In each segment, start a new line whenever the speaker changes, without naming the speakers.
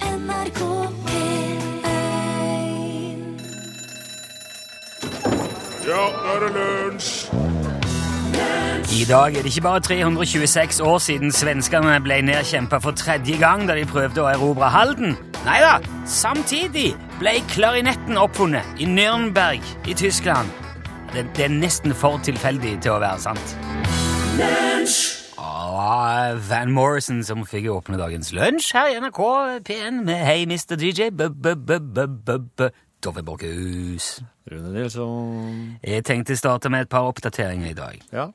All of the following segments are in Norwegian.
NRK P1
Ja, nå er det lunsj!
I dag er det ikke bare 326 år siden svenskene ble nedkjempa for tredje gang da de prøvde å erobre Halden. Nei da, samtidig ble klarinetten oppfunnet i Nürnberg i Tyskland. Det, det er nesten for tilfeldig til å være sant. Ah, Van Morrison som fikk åpne dagens lunsj her i NRK P1 med Hei, Mr. DJ, b-b-b-b-b-b Tove Borkhus.
Rune Nilsson.
Jeg tenkte starte med et par oppdateringer i dag.
Ja.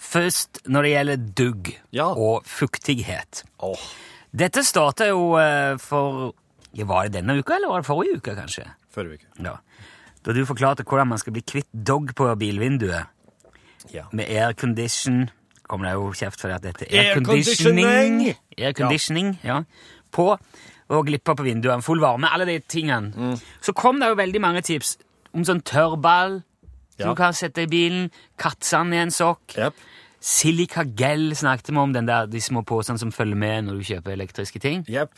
Først når det gjelder dugg
Ja.
og fuktighet.
Åh,
Dette startet jo eh, for ja, Var det denne uka, eller var det forrige uke, kanskje?
forrige uke.
Ja. Da du forklarte hvordan man skal bli kvitt dog på bilvinduet
Ja.
med aircondition Kom det jo kjeft for at dette
Air
airconditioning
conditioning!
air conditioning, ja. På og glippa på vinduene, full varme, alle de tingene.
Mm.
Så kom det jo veldig mange tips om sånn tørrball som
Ja.
du kan sette i bilen, kattsand i en sokk
Jep.
Silikagel snakket vi om, den der, de små posene som følger med når du kjøper elektriske ting.
Jep.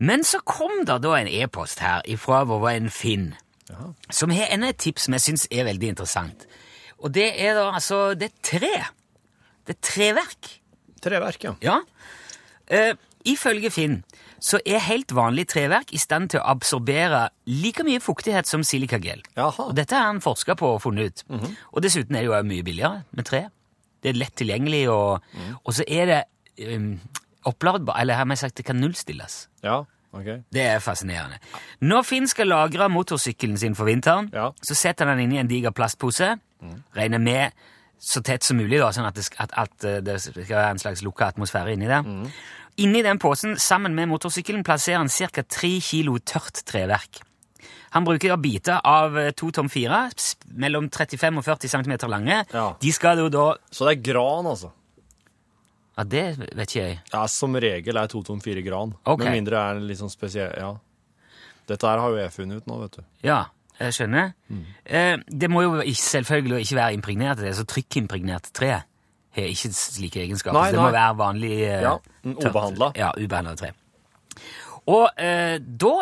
Men så kom det da en e-post her ifra vår venn Finn,
Jaha.
som har enda et tips som jeg syns er veldig interessant. Og det er da altså Det er tre. Det er treverk.
Treverk, ja.
Ja. Eh, ifølge Finn så er helt vanlig treverk i stand til å absorbere like mye fuktighet som silikagel.
Jaha.
Og dette har han forska på og funnet ut. Og dessuten er det jo også mye billigere med tre. Det er lett tilgjengelig, og, og så er det um, oppladbar Eller har vi sagt det kan nullstilles?
Ja, ok.
Det er fascinerende. Når Finn skal lagre motorsykkelen sin for vinteren,
Ja. Mm.
så setter han den inn i en diger plastpose. Regner med så tett som mulig, da, sånn at det, sk- at, at eh, det skal være en slags lukka atmosfære inni der.
Mm.
Inni den posen, sammen med motorsykkelen, plasserer han ca. 3 kilo tørt treverk. Han bruker da biter av 2 tom 4, mellom 35 og 40 cm lange.
Ja.
De skal jo da
Så det er gran, altså.
Ja, det vet ikke jeg.
Ja, som regel er 2-tom-4 gran.
Ok.
Med mindre er det litt sånn spesiell, ja. Dette her har jo jeg funnet ut nå, vet du.
Ja, jeg skjønner.
Mm.
Eh, det må jo ikke- selvfølgelig ikke være impregnert i det, så trykkimpregnert tre har ikke slike egenskaper.
Nei,
så det må
nei.
være vanlig eh,
Ja, en
tørt-
ubehandlet.
Ja, ubehandla tre. Og eh, da,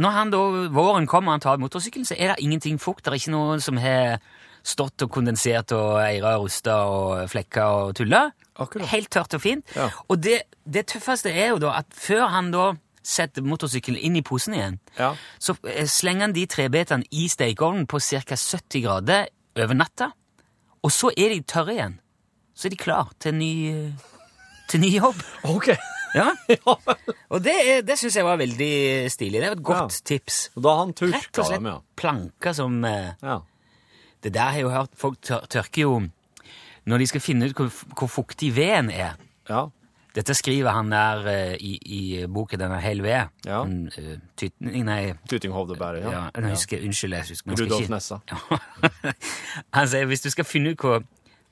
når han da, våren kommer og han tar motorsykkelen, så er det ingenting fukt. Det er ikke noe som har stått og kondensert og eirer og rusta og flekka og tulla.
Akkurat.
Helt tørt og fint.
Ja.
Og det, det tøffeste er jo da at før han da setter motorsykkelen inn i posen igjen,
Ja.
så eh, slenger han de trebetene i stekeovnen på ca. 70 grader over natta. Og så er de tørre igjen. Så er de klar til en ny, eh, til ny jobb.
Ok.
Ja. Og det, er- det syns jeg var veldig stilig. Det var et godt
Ja.
tips.
Og da har han
Rett og
turka
slett
dem, ja.
planker som eh,
Ja.
Det der har jeg jo hørt folk tør, tørker jo når de skal finne ut hvor, hvor fuktig veden er.
Ja.
Dette skriver han der eh, i, i boken 'Den er hel ved'.
Ja.
Han, eh, Tytning, nei,
Tutinghovdebæret, ja.
ja, jeg husker, Unnskyld, jeg husker men jeg skal
Rudolf
ikke-
Nessa.
Ja. Han sier hvis du skal finne ut hvor,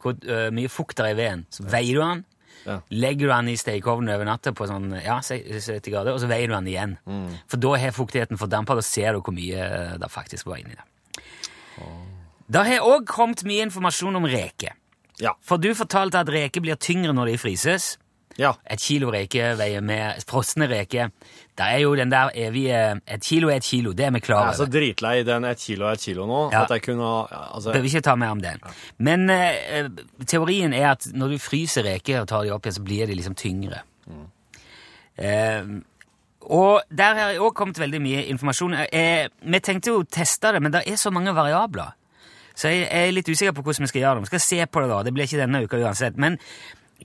hvor øh, mye fukt det er i veden, så veier du den,
Ja.
legger du den i stekeovnen over natta på sånn, ja, se- 70 grader, og så veier du den igjen.
Mm.
For da har fuktigheten fordampa, da ser du hvor mye øh, det faktisk var inni der. Det har òg kommet mye informasjon om reker.
Ja.
For du fortalte at reker blir tyngre når de fryses.
Ja.
Et kilo reker veier med frosne reker. Det er jo den der evige Et kilo er et kilo, det er vi
Jeg
klar
er så
over.
dritlei den ett kilo er ett kilo nå,
Ja.
at jeg kunne ha ja, altså,
Behøver ikke ta mer om den. Men eh, teorien er at når du fryser reker og tar de opp igjen, så blir de liksom tyngre. Eh, og der har jeg òg kommet veldig mye informasjon. Eh, vi tenkte jo å teste det, men det er så mange variabler. Så jeg er litt usikker på hvordan vi skal gjøre det. Vi skal se på det da. Det blir ikke denne uka uansett. Men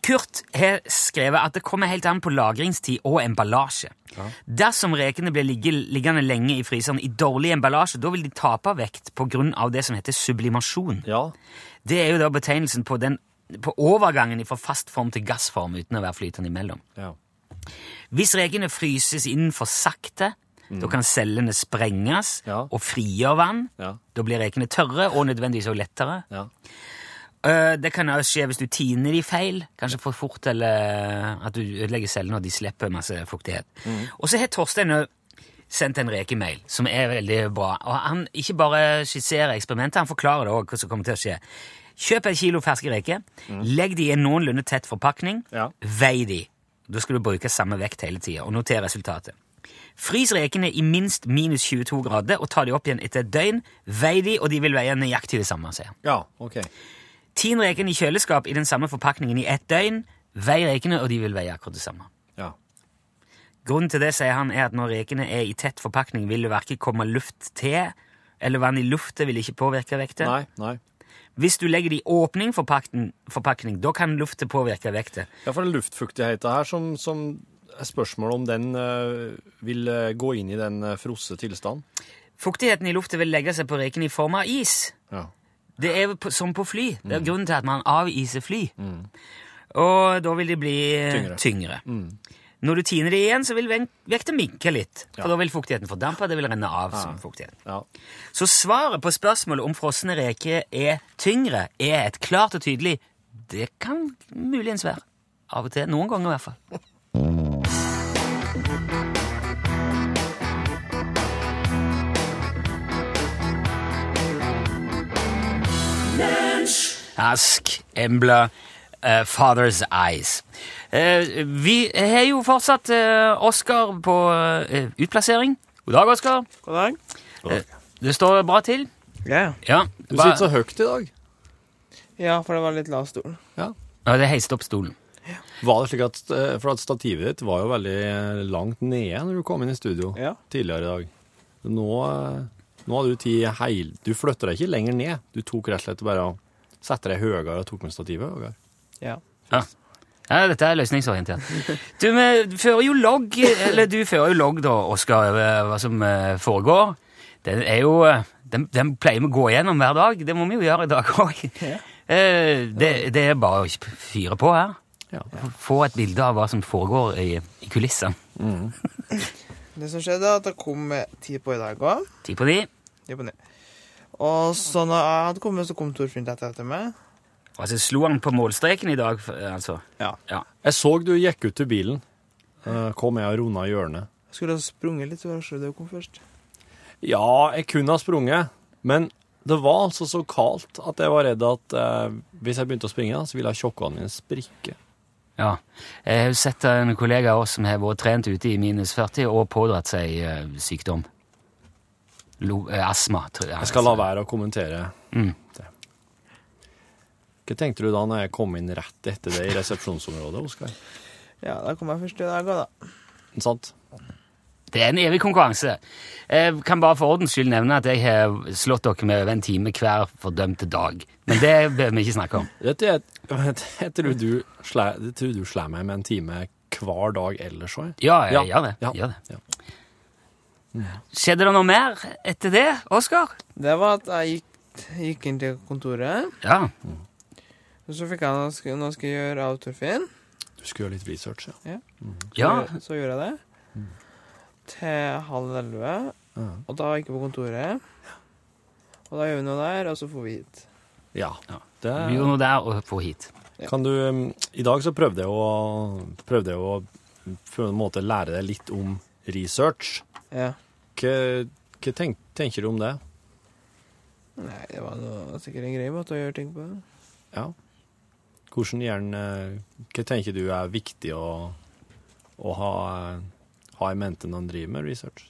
Kurt har skrevet at det kommer helt an på lagringstid og emballasje. Dersom rekene blir ligge, liggende lenge i fryseren i dårlig emballasje, da vil de tape vekt på grunn av det som heter sublimasjon.
Ja.
Det er jo da betegnelsen på, den, på overgangen fra fast form til gassform uten å være flytende imellom.
Ja.
Hvis rekene fryses inn for sakte, da kan cellene sprenges
Mm. Ja.
og frigjøre vann.
Ja.
Da blir rekene tørre og nødvendigvis også lettere.
Ja.
Eh, Det kan også skje hvis du tiner de feil, kanskje for fort, eller eh, at du ødelegger cellene og de slipper masse fuktighet. Og så har Torstein også sendt en rekemail, som er veldig bra. Og han ikke bare skisserer eksperimentet, han forklarer det også hva som kommer til å skje. Kjøp en kilo ferske reker, legg de i en noenlunde tett forpakning,
Ja.
vei de. Da skal du bruke samme vekt hele tida, og noter resultatet. Frys rekene i minst minus 22 grader og ta de opp igjen etter et døgn. Vei de, og de vil veie nøyaktig det samme. sier han.
Ja, ok.
Tin rekene i kjøleskap i den samme forpakningen i ett døgn. Vei rekene, og de vil veie akkurat det samme.
Ja.
Grunnen til det, sier han, er at når rekene er i tett forpakning, vil det verken komme luft til, eller vann i lufta vil ikke påvirke vekta.
Nei, nei.
Hvis du legger det i åpning forpakning, forpakning da kan lufta påvirke vekta.
Ja, for det er luftfuktigheten her som, som er spørsmålet om den eh, vil eh, gå inn i den uh, frosse tilstanden.
Fuktigheten i lufta vil legge seg på rekene i form av is.
Ja.
Det er jo på- som på fly. Det er
Mm.
grunnen til at man aviser fly. Og da vil de bli tyngre.
Tyngre. Mm.
tyngre. Når du tiner de igjen, så vil vek- vekten minke litt. For
Ja. Ah.
da vil fuktigheten fordampe, det vil renne av som fuktighet.
ja.
Så svaret på spørsmålet om frosne reker er tyngre, er et klart og tydelig Det kan muligens være. Av og til. Noen ganger, i hvert fall. Ask, Embla, eh, Father's Eyes. Eh, vi har jo fortsatt eh, Oscar på eh, utplassering. God dag, Oscar.
God dag.
Det står bra til.
Ja,
Ja,
Du
bare-
sitter så høyt i dag.
ja for det var litt lav stol.
Ja, det heiste opp stolen.
Var det slik at, eh, for at Stativet ditt var jo veldig eh, langt nede når du kom inn i studio
Ja.
tidligere i dag. Nå, eh, nå hadde du tid heil... Du flyttet deg ikke lenger ned. Du tok rett og slett bare og sette deg høyere og tok med stativet. høyere.
Ja.
Ja, dette er løsningsorientert. Du men, fører jo logg, eller du fører jo logg da, Oskar, over hva som eh, foregår. Den er jo eh, den, den pleier vi å gå gjennom hver dag. Det må vi jo gjøre i dag òg.
Ja.
Det, det er bare å ikke fyre på her.
Ja.
Få et bilde av hva som foregår i, i kulissene.
Det som skjedde, er at det kom eh, ti på i dag òg.
Ti på ni.
Ti på ni. Og så når jeg hadde kommet, så kom Torfinn rett etter meg.
Og så slo han på målstreken i dag, f- altså.
Ja.
Ja.
Jeg så du gikk ut til bilen. Eh, Kom jeg og runda hjørnet.
Jeg skulle ha sprunget litt, for jeg så det kom først.
Ja, jeg kunne ha sprunget, men det var altså så kaldt at jeg var redd at eh, hvis jeg begynte å springe, så ville kjokkene mine sprikke.
Ja. Jeg har jo sett eh, en kollega av oss som har vært trent ute i minus 40 og pådratt seg eh, sykdom. Lo, eh, astma, tror jeg.
Jeg skal la være å kommentere
Mm.
det. Hva tenkte du da når jeg kom inn rett etter det i resepsjonsområdet, Oskar?
Ja, da kom jeg først i dag òg, da.
Sant?
Det er en evig konkurranse. Jeg kan bare for ordens skyld nevne at jeg har slått dere med over en time hver fordømte dag. Men det bør vi ikke snakke om.
Dette er et Jeg tror du slår det tror du slår meg med en time hver dag ellers òg.
Ja, jeg
Ja.
gjør det.
Ja.
Gjør det.
Ja.
Skjedde det noe mer etter det, Oskar?
Det var at jeg gikk, gikk inn til kontoret,
Ja.
og så fikk jeg noe jeg skulle- noe jeg skulle gjøre av Torfinn.
Du skulle gjøre litt research, ja.
Så,
ja.
gjør- så gjorde jeg det. Til halv elleve.
Ja.
Og da gikk jeg på kontoret. Og da gjør vi noe der, og så får vi hit.
Ja.
Ja.
Det,
Vi gjorde noe der og få hit.
Kan du, um, I dag så prøvde jeg å, prøvde jeg å på en måte lære deg litt om research.
Ja.
Hva, hva tenk, tenker du om det?
Nei, det var noe, sikkert en grei måte å gjøre ting på.
Ja. Hvordan gjerne, eh, hva tenker du er viktig å, å ha, eh, ha i mente når en driver med research?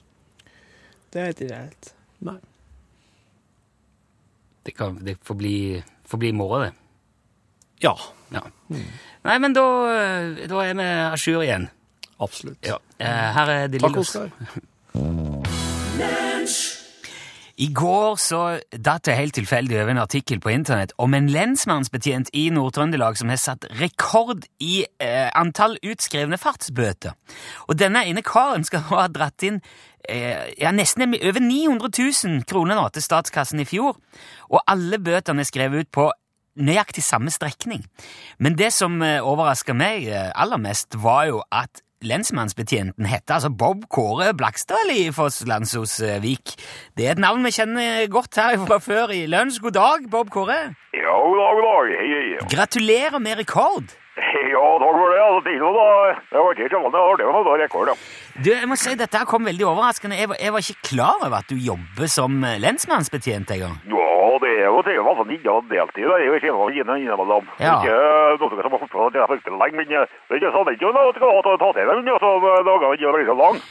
Det vet ikke jeg helt.
Nei.
Det, kan, det får bli, får bli i morgen, det.
Ja,
Ja. Mm. Nei, men da, da er vi à jour igjen.
absolutt.
Eh, Her er De
Takk,
Lillos.
Oskar.
I går så datt jeg helt tilfeldig over en artikkel på internett om en lensmannsbetjent i Nord-Trøndelag som har satt rekord i eh, antall utskrevne fartsbøter. Og denne ene karen skal ha dratt inn eh, ja, nesten en- over 900 000 kroner nå til statskassen i fjor, og alle bøtene er skrevet ut på nøyaktig samme strekning. Men det som eh, overraska meg eh, aller mest, var jo at lensmannsbetjenten heter altså Bob Kåre Blakstad i Fosslandsosvik. Det er et navn vi kjenner godt her fra før i lunsj. God dag, Bob Kåre.
Ja, god dag, god dag. Hei, hei.
Gratulerer med rekord!
Ja, takk for det. Altså, Tino, da. Det var ikke så vanlig. Det var det var da rekord, da.
Du, jeg må si Dette her kom veldig overraskende. Jeg var, jeg var ikke klar over at du jobber som eh, lensmannsbetjent engang.
Ja, det er jo så er jo altså inne og deltid. da. Jeg er jo ikke inne- inne innimellom.
Ja.
Ikke eh, noe som har fått at jeg har fulgt det lenge, men eh, det er ikke sånn at jeg skal ta, ta til altså, dem, så dagene ikke blir så lang.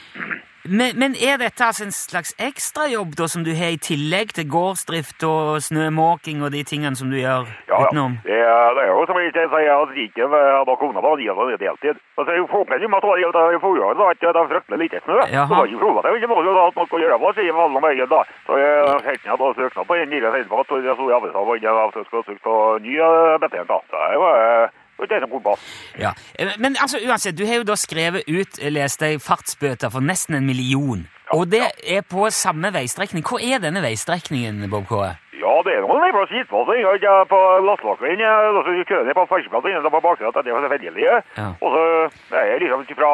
Men, men er dette altså en slags ekstrajobb da, som du har i tillegg til gårdsdrift og snømåking og de tingene som du gjør
Ja, ja.
utenom?
Det, er- det er jo som jeg sier, at ikke eh, bak ungene på en del deltid. Men så er jo folkene med at det var i forhånd, da, at det er fryktelig lite snø.
Jaha.
Det var ikke problemet, det er jo ikke noe da, at man skal gjøre på, sier alle om egen da. Så jeg helt ned og søkte på en nylig senere, og jeg så i avisa om at jeg skulle søke på ny eh, betjent da. Så jeg var... eh, Det er en god bass.
Ja. Eh, Men altså, uansett, du har jo da skrevet ut, eh, leste jeg, fartsbøter for nesten en million. Og det er på samme veistrekning. Hvor er denne veistrekningen, Bob Kåre?
Ja, det er noen vei plass hit på, så jeg har ikke på lastelakken, og så kører jeg på ferskplassen, og så på baksiden, det er selvfølgelig.
Ja.
Og så er jeg liksom fra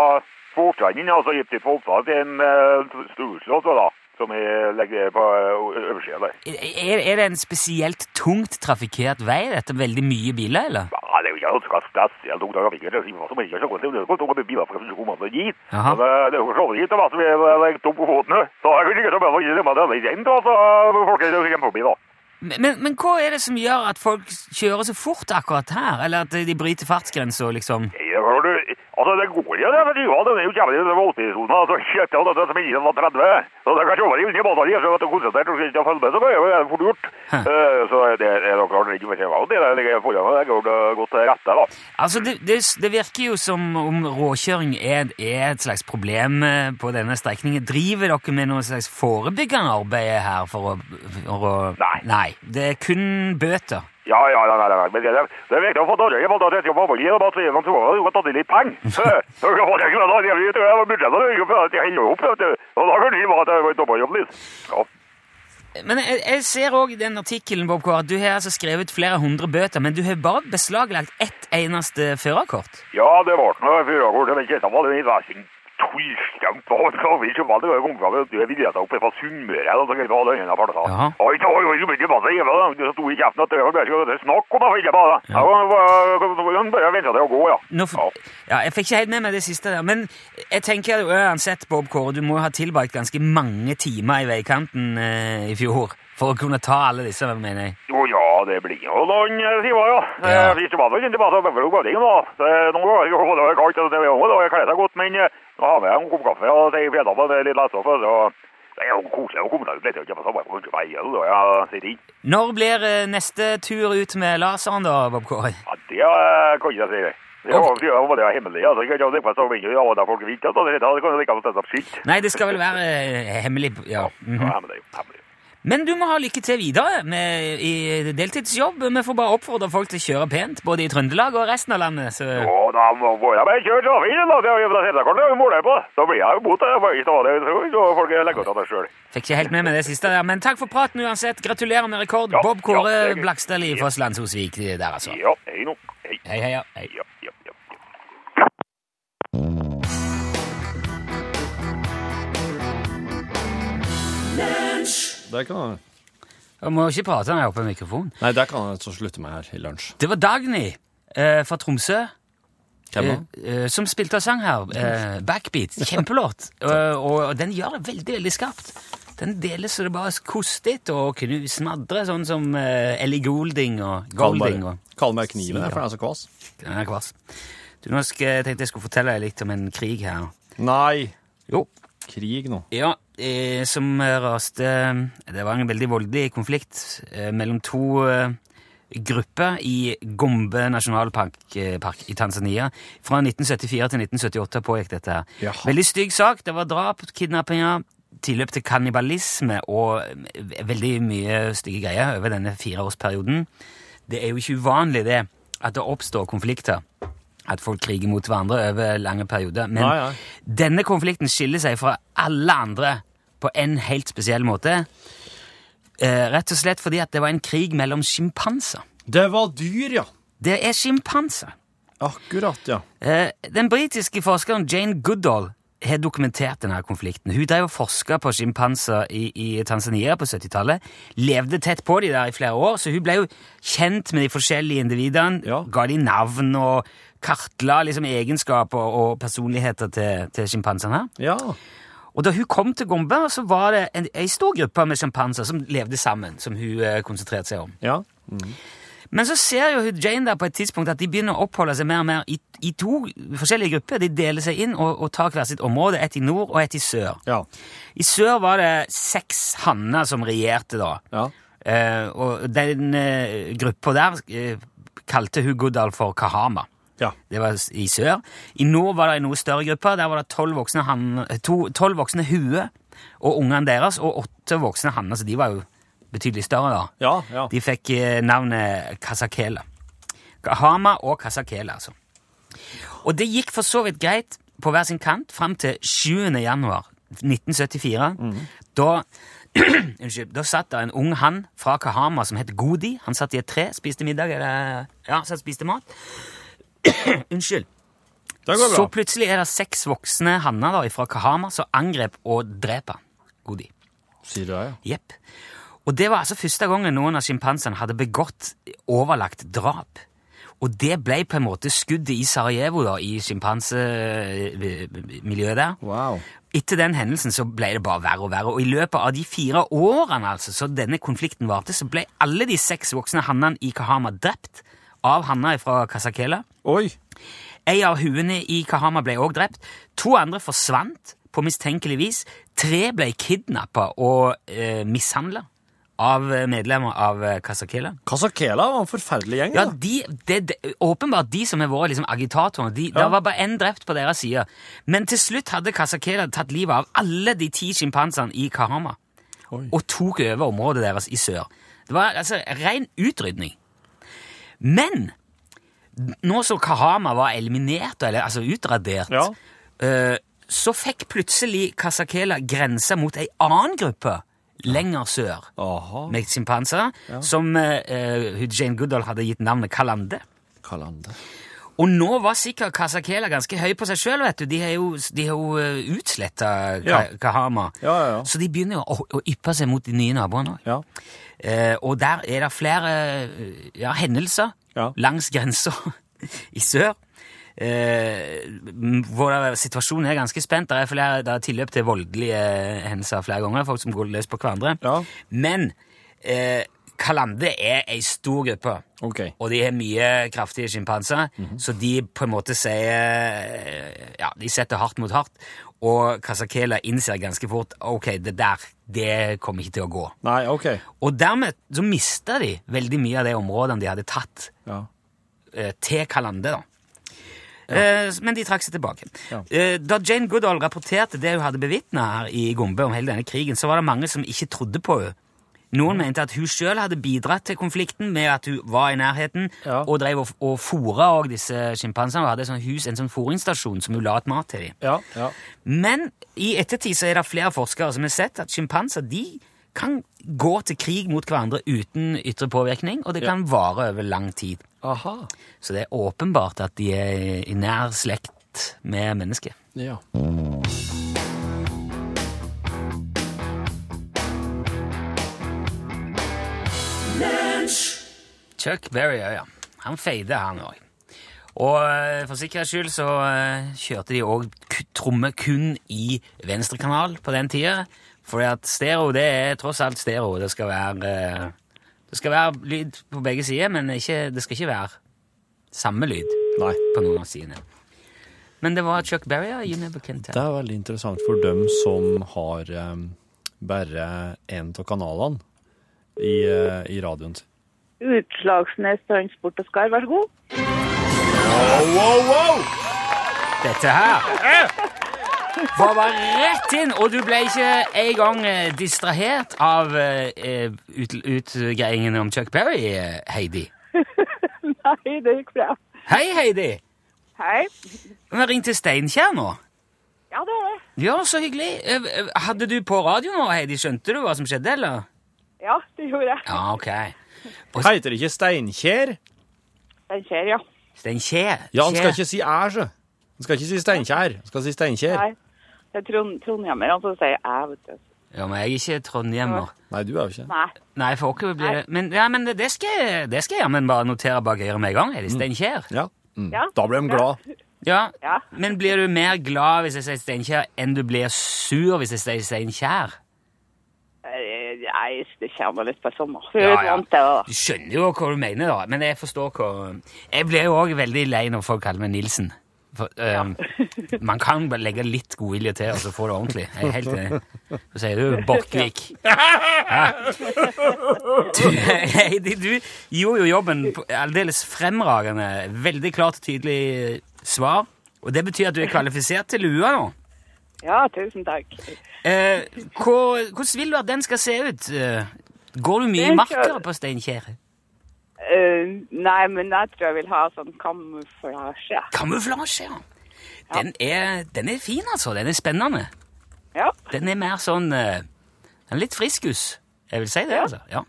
Fortranden, og så gikk jeg på oppdrag til en uh, storslått, da, som jeg legger på eh, øversiden der.
Er, er det en spesielt tungt trafikkert vei? Er dette veldig mye biler, eller?
Ja, det er jo ikke ganske spesielt tungt, jeg fikk det, det var som ikke så godt, det var tungt å bli biler for å komme seg dit.
Jaha.
Men eh, det er jo for så vidt hit, det var som jeg legger tom på fotene, så jeg kunne ikke så bra for å gjøre det, det er kjent, og så folk er jo ikke hjemme forbi da.
Men, men- men hva er det som gjør at folk kjører så fort akkurat her? Eller at de bryter fartsgrensa, liksom?
Ja, har du, altså, det går jo, det, for du har denne jævlig voldtidszonen, altså, kjøpt av dette som ikke var 30. Så det kan kjøpe deg unni bader, så at du konsentrert og ikke følge med, så blir det fort gjort. Eh, Så det er nok klart det ikke for seg valg, det er det forholdet, det går eh, godt til rette, da.
Altså, det, det, det virker jo som om råkjøring er, er et slags problem eh, på denne strekningen. Driver dere med noe slags forebyggende arbeid her for å, for å
Nei.
Det er kun bøter.
Ja, ja, nei, nei, nei, men det, det er viktig å få dårlig, for da skal man bare og bare sier man tror at du kan ta til litt penger. Så så kan man ikke være der, jeg tror jeg var budsjettet, jeg kan ikke helle opp, vet du. Og da kan de bare ta en dommerjobb litt. Ja.
Men jeg, jeg ser òg i den artikkelen, Bob Kåre, at du har altså skrevet flere hundre bøter, men du har bare beslaglagt ett eneste førerkort.
Ja, det var det noe førerkort, men kjenta var det i versing tullstemt på hans kavir, så var det jo kommet fram at det ville jeg ta opp fra Sunnmøre, og så kunne jeg ha den ene parten.
Jaha.
Oi, da var jo mye masse hjemme, da. Det sto i kjeften at det var bare ikke snakk om å finne på det. Ja, han bare ventet til å gå, ja.
Nå f-
Ja.
ja, jeg fikk ikke helt med meg det siste der, men jeg tenker jo uansett, Bob Kåre, du må ha tilbrakt ganske mange timer i veikanten eh, i fjor for å kunne ta alle disse, mener jeg.
Jo, ja, det blir jo noen eh, timer, ja.
Ja.
Eh, Hvis du bare ikke bare så bøffer du gåting, da. Eh, Noen ganger går det jo kaldt, og det er jo da jeg kler seg godt, men eh, nå har vi en kopp kaffe, og det er fredag, og det er litt lettstoff, og så det er jo koselig å komme seg ut litt, og ikke bare så bare på vei, og da jeg sitter inn.
Når blir eh, neste tur ut med laseren, da, Bob Kåre?
Ja, det eh, kan jeg si. Det var, det var bare hemmelig. Altså, jeg kan ikke ha det på så mye, ja, og det er folk vidt, altså, det det kan jeg ikke ha sett opp skilt.
Nei, det skal vel være eh, hemmelig ja.
Det
mhm.
var hemmelig, hemmelig.
Men du må ha lykke til videre med, i deltidsjobb. Vi får bare oppfordre folk til å kjøre pent, både i Trøndelag og resten av landet. Så.
Og da må må jeg bare kjøre trafikken, da, det er jo det siste kortet jeg måler på. Da blir jeg jo bot, jeg bare ikke det, så folk legger ut av det selv.
Fikk ikke helt med meg det siste der, men takk for praten uansett. Gratulerer med rekord.
Ja,
Bob Kåre
ja, det er
ja,
gøy.
Blakstadli fra Slandsosvik der, altså.
Ja, hei nå. Hei,
Hei, hei, ja, hei.
ja, ja, ja. ja.
Det kan han.
Jeg må ikke prate når jeg er oppe i mikrofonen.
Nei, det kan han så slutte med her i lunsj.
Det var Dagny eh, fra Tromsø.
Hvem da?
eh, eh, som spilte og sang her. Eh, backbeat. Kjempelåt. Eh, og, og den gjør det veldig veldig skarpt. Den deles så det bare koster etter og kunne smadre, sånn som eh, Ellie Goulding og Golding.
Kalmar,
Og,
Kalmar kniven er for den som kvass.
den er kvass. Du, nå skal, jeg tenkte jeg skulle fortelle deg litt om en krig her.
Nei.
Jo.
Krig nå.
Ja, eh, som raste Det var en veldig voldelig konflikt eh, mellom to eh, grupper i Gombe nasjonalpark eh, park i Tanzania. Fra 1974 til 1978 pågikk dette her.
Jaha.
Veldig stygg sak. Det var drap, kidnappinger, tilløp til kannibalisme og eh, veldig mye stygge greier over denne fireårsperioden. Det er jo ikke uvanlig, det, at det oppstår konflikter. At folk kriger mot hverandre over lange perioder. Men
Nei, nei.
denne konflikten skiller seg fra alle andre på en helt spesiell måte. Eh, rett og slett fordi at det var en krig mellom sjimpanser.
Det var dyr, ja.
Det er sjimpanser.
Akkurat, ja.
Eh, den britiske forskeren Jane Goodall har dokumentert denne konflikten. Hun drev og forska på sjimpanser i, i Tanzania på 70-tallet. Levde tett på de der i flere år, så hun ble jo kjent med de forskjellige individene.
Ja.
Ga de navn og kartla liksom egenskaper og personligheter til, til sjimpansene. her.
Ja.
Og da hun kom til Gomberg, så var det en, en stor gruppe med sjampanser som levde sammen, som hun eh, konsentrerte seg om.
Ja.
Men så ser jo hun Jane der på et tidspunkt at de begynner å oppholde seg mer og mer i, i to forskjellige grupper. De deler seg inn og, og tar hvert sitt område, et i nord og et i sør.
Ja.
I sør var det seks hanner som regjerte da.
Ja.
Eh, og den eh, gruppa der eh, kalte hun Goodall for Kahama.
Ja.
Det var s- i sør. I nord var det en noe større gruppe. Der var det tolv voksne, han, to, tolv voksne huer og ungene deres, og åtte voksne hanner, så de var jo betydelig større da.
Ja. ja.
De fikk eh, navnet Kasakela. Hama og Kasakela, altså. Og det gikk for så vidt greit på hver sin kant fram til 7. januar 1974.
Mm.
Da, unnskyld, da satt det en ung hann fra Kahama som het Godi. Han satt i et tre, spiste middag eller Ja, satt og spiste mat. unnskyld.
Det går
Så
bra.
plutselig er det seks voksne hanner fra Kahama som angrep og dreper Godi.
Sier du det, ja.
Jepp. Og det var altså første gangen noen av sjimpansene hadde begått overlagt drap. Og det ble på en måte skuddet i Sarajevo, da, i sjimpansemiljøet der.
Wow.
Etter den hendelsen så ble det bare verre og verre, og i løpet av de fire årene altså, så denne konflikten varte, så ble alle de seks voksne hannene i Kahama drept av hanner fra Kasakela.
Oi.
En av huene i Kahama ble også drept. To andre forsvant på mistenkelig vis. Tre ble kidnappa og eh, mishandla av eh, medlemmer av eh, Kasakela.
Kasakela var en forferdelig gjeng.
Ja,
da.
de, det- det- Åpenbart de som har vært liksom, agitatorene. De, Det var bare én drept på deres side. Men til slutt hadde Kasakela tatt livet av alle de ti sjimpansene i Kahama
Oi.
og tok over området deres i sør. Det var altså ren utrydning. Men nå som Kahama var eliminert, eller altså utradert,
Ja.
eh, så fikk plutselig Kasakela grensa mot ei annen gruppe lenger sør
Aha.
med simpanser, som eh, eh, Jane Goodall hadde gitt navnet Kalande.
Kalande.
Og nå var sikkert Kasakela ganske høy på seg sjøl, vet du. De har jo, de har jo utsletta
Ja.
Kahama.
Ja, ja, ja.
Så de begynner jo å, å yppe seg mot de nye naboene òg.
Ja.
Eh, og der er det flere eh, ja, hendelser
Ja.
langs grensa i sør. Eh, m- hvor det, situasjonen er ganske spent. Det er, flere, det er tilløp til voldelige hendelser flere ganger. Folk som går løs på hverandre.
Ja.
Men eh, Kalande er ei stor gruppe.
Ok. Mhm.
Og de har mye kraftige sjimpanser, så de på en måte sier Ja, de setter hardt mot hardt. Og Kasakela innser ganske fort ok, det der det kommer ikke til å gå.
Nei, ok.
Og dermed så mista de veldig mye av de områdene de hadde tatt
Ja.
eh, til Kalande. da. Eh, Men de trakk seg tilbake.
Ja.
Eh, Da Jane Goodall rapporterte det hun hadde bevitna her i Gombe om hele denne krigen, så var det mange som ikke trodde på henne. Noen mente at hun sjøl hadde bidratt til konflikten med at hun var i nærheten
Ja.
og drev og, og fôra også disse sjimpansene. Hun hadde et sånt hus, en sånn fôringsstasjon som hun la et mat til dem.
Ja. ja.
Men i ettertid så er det flere forskere som har sett at sjimpanser de kan gå til krig mot hverandre uten ytre påvirkning, og det kan vare over lang tid.
Aha.
Så det er åpenbart at de er i nær slekt med mennesker.
Ja.
Chuck Berry, ja. ja. Han feider, han òg. Og eh, for sikkerhets skyld så eh, kjørte de òg tromme kun i venstrekanal på den tida. Fordi at stereo, det er tross alt stereo. Det skal være, eh, det skal være lyd på begge sider, men ikke, det skal ikke være samme lyd
Nei.
på noen av sidene. Men det var Chuck Berry og You Never Can Tell.
Det er veldig interessant for dem som har eh, bare én av kanalene i, eh, i radioen sin.
Utslagsnes Transport og Skar, vær så god.
Dette her var bare rett inn, og du ble ikke en gang eh, distrahert av eh, eh, ut, utgreiingen om Chuck Berry, eh, Heidi.
Nei, det gikk bra.
Hei, Heidi!
Hei.
Vi har ringt til Steinkjer nå.
Ja, det er det.
Ja, så hyggelig. Eh, eh, Hadde du på radio nå, Heidi? Skjønte du hva som skjedde, eller?
Ja, det gjorde jeg.
Ja, ok.
Heiter det ikke Steinkjer?
Den skjer, ja.
Steinkjer.
Ja, han skal
Kjer.
ikke si æ, sjø. Han skal ikke si Steinkjer. Han skal si Steinkjer.
Nei. Det er Trond Trondhjemmer, altså, sier jeg, vet du.
Ja, men jeg er ikke trondhjemmer.
Nei, du er jo ikke
Nei.
Nei, for oss blir det Men, ja, men det-
Mm.
det skal jeg det skal jeg jammen bare notere bak øret med en gang. Heidi Steinkjer.
Ja. Mm.
Ja.
Da ble de glad.
Ja.
Ja.
Men blir du mer glad hvis jeg sier Steinkjer, enn du blir sur hvis jeg sier Steinkjer?
Eh, Nei, det kommer litt på sommer. Vi
Ja,
er
ja.
vant til det,
Du skjønner jo hva du mener, da. Men jeg forstår hva Jeg blir jo òg veldig lei når folk kaller meg Nilsen. For, øhm, man kan bare legge litt godvilje til, og så får du ordentlig. Jeg er helt enig. Så sier du Borchgrevink. Hæ? Du, Heidi, du gjorde jo jobben på- aldeles fremragende. Veldig klart og tydelig svar. Og det betyr at du er kvalifisert til lua nå.
da. Ja, tusen takk.
Eh, hva- hvordan vil du at den skal se ut? Eh, Går du mye i
Den
marka
skal-
på Steinkjer?
Eh, nei, men jeg tror jeg vil ha sånn kamuflasje.
Kamuflasje, ja. Den er, den er fin, altså. Den er spennende.
Ja.
Den er mer sånn eh, Den er litt friskus. Jeg vil si det,
Ja.
altså. Ja.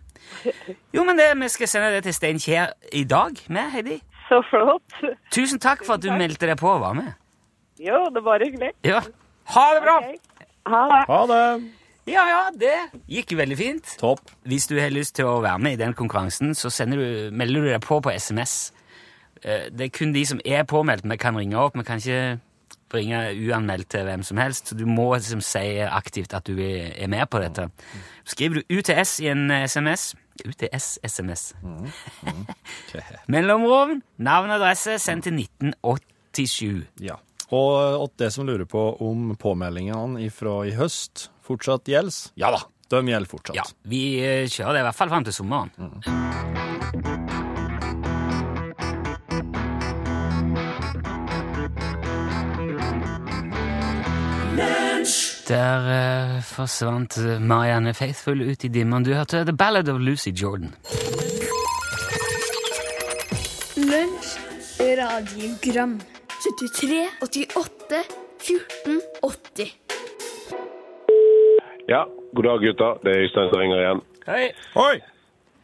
Jo, men det, vi skal sende det til Steinkjer i dag, med Heidi.
Så flott.
Tusen takk for at du
Tusen takk.
meldte deg på og var med.
Jo, det var hyggelig.
Ja. Ha det bra!
Ok. Ha det.
Ha det!
Ja, ja, det gikk veldig fint.
Topp.
Hvis du har lyst til å være med i den konkurransen, så sender du, melder du deg på på SMS. Eh, Det er kun de som er påmeldt. Vi kan ringe opp. Vi kan ikke bringe uanmeldt til hvem som helst. Så du må liksom si aktivt at du er er med på dette. Så skriver du UTS i en eh, SMS. UTS-SMS. Mellomrom, navn og adresse, send til 1987.
Ja. Og åt det som lurer på om påmeldingene ifra i høst fortsatt gjelder Ja da, de gjelder fortsatt.
Ja, vi eh, kjører det i hvert fall fram til sommeren. Der eh, forsvant Marianne Faithfull ut i dimmen. Du hørte The Ballad of Lucy Jordan.
Lunsj radiogram 73 88 14 80
Ja, god dag gutta. Det er Øystein som ringer igjen.
Hei!
Oi!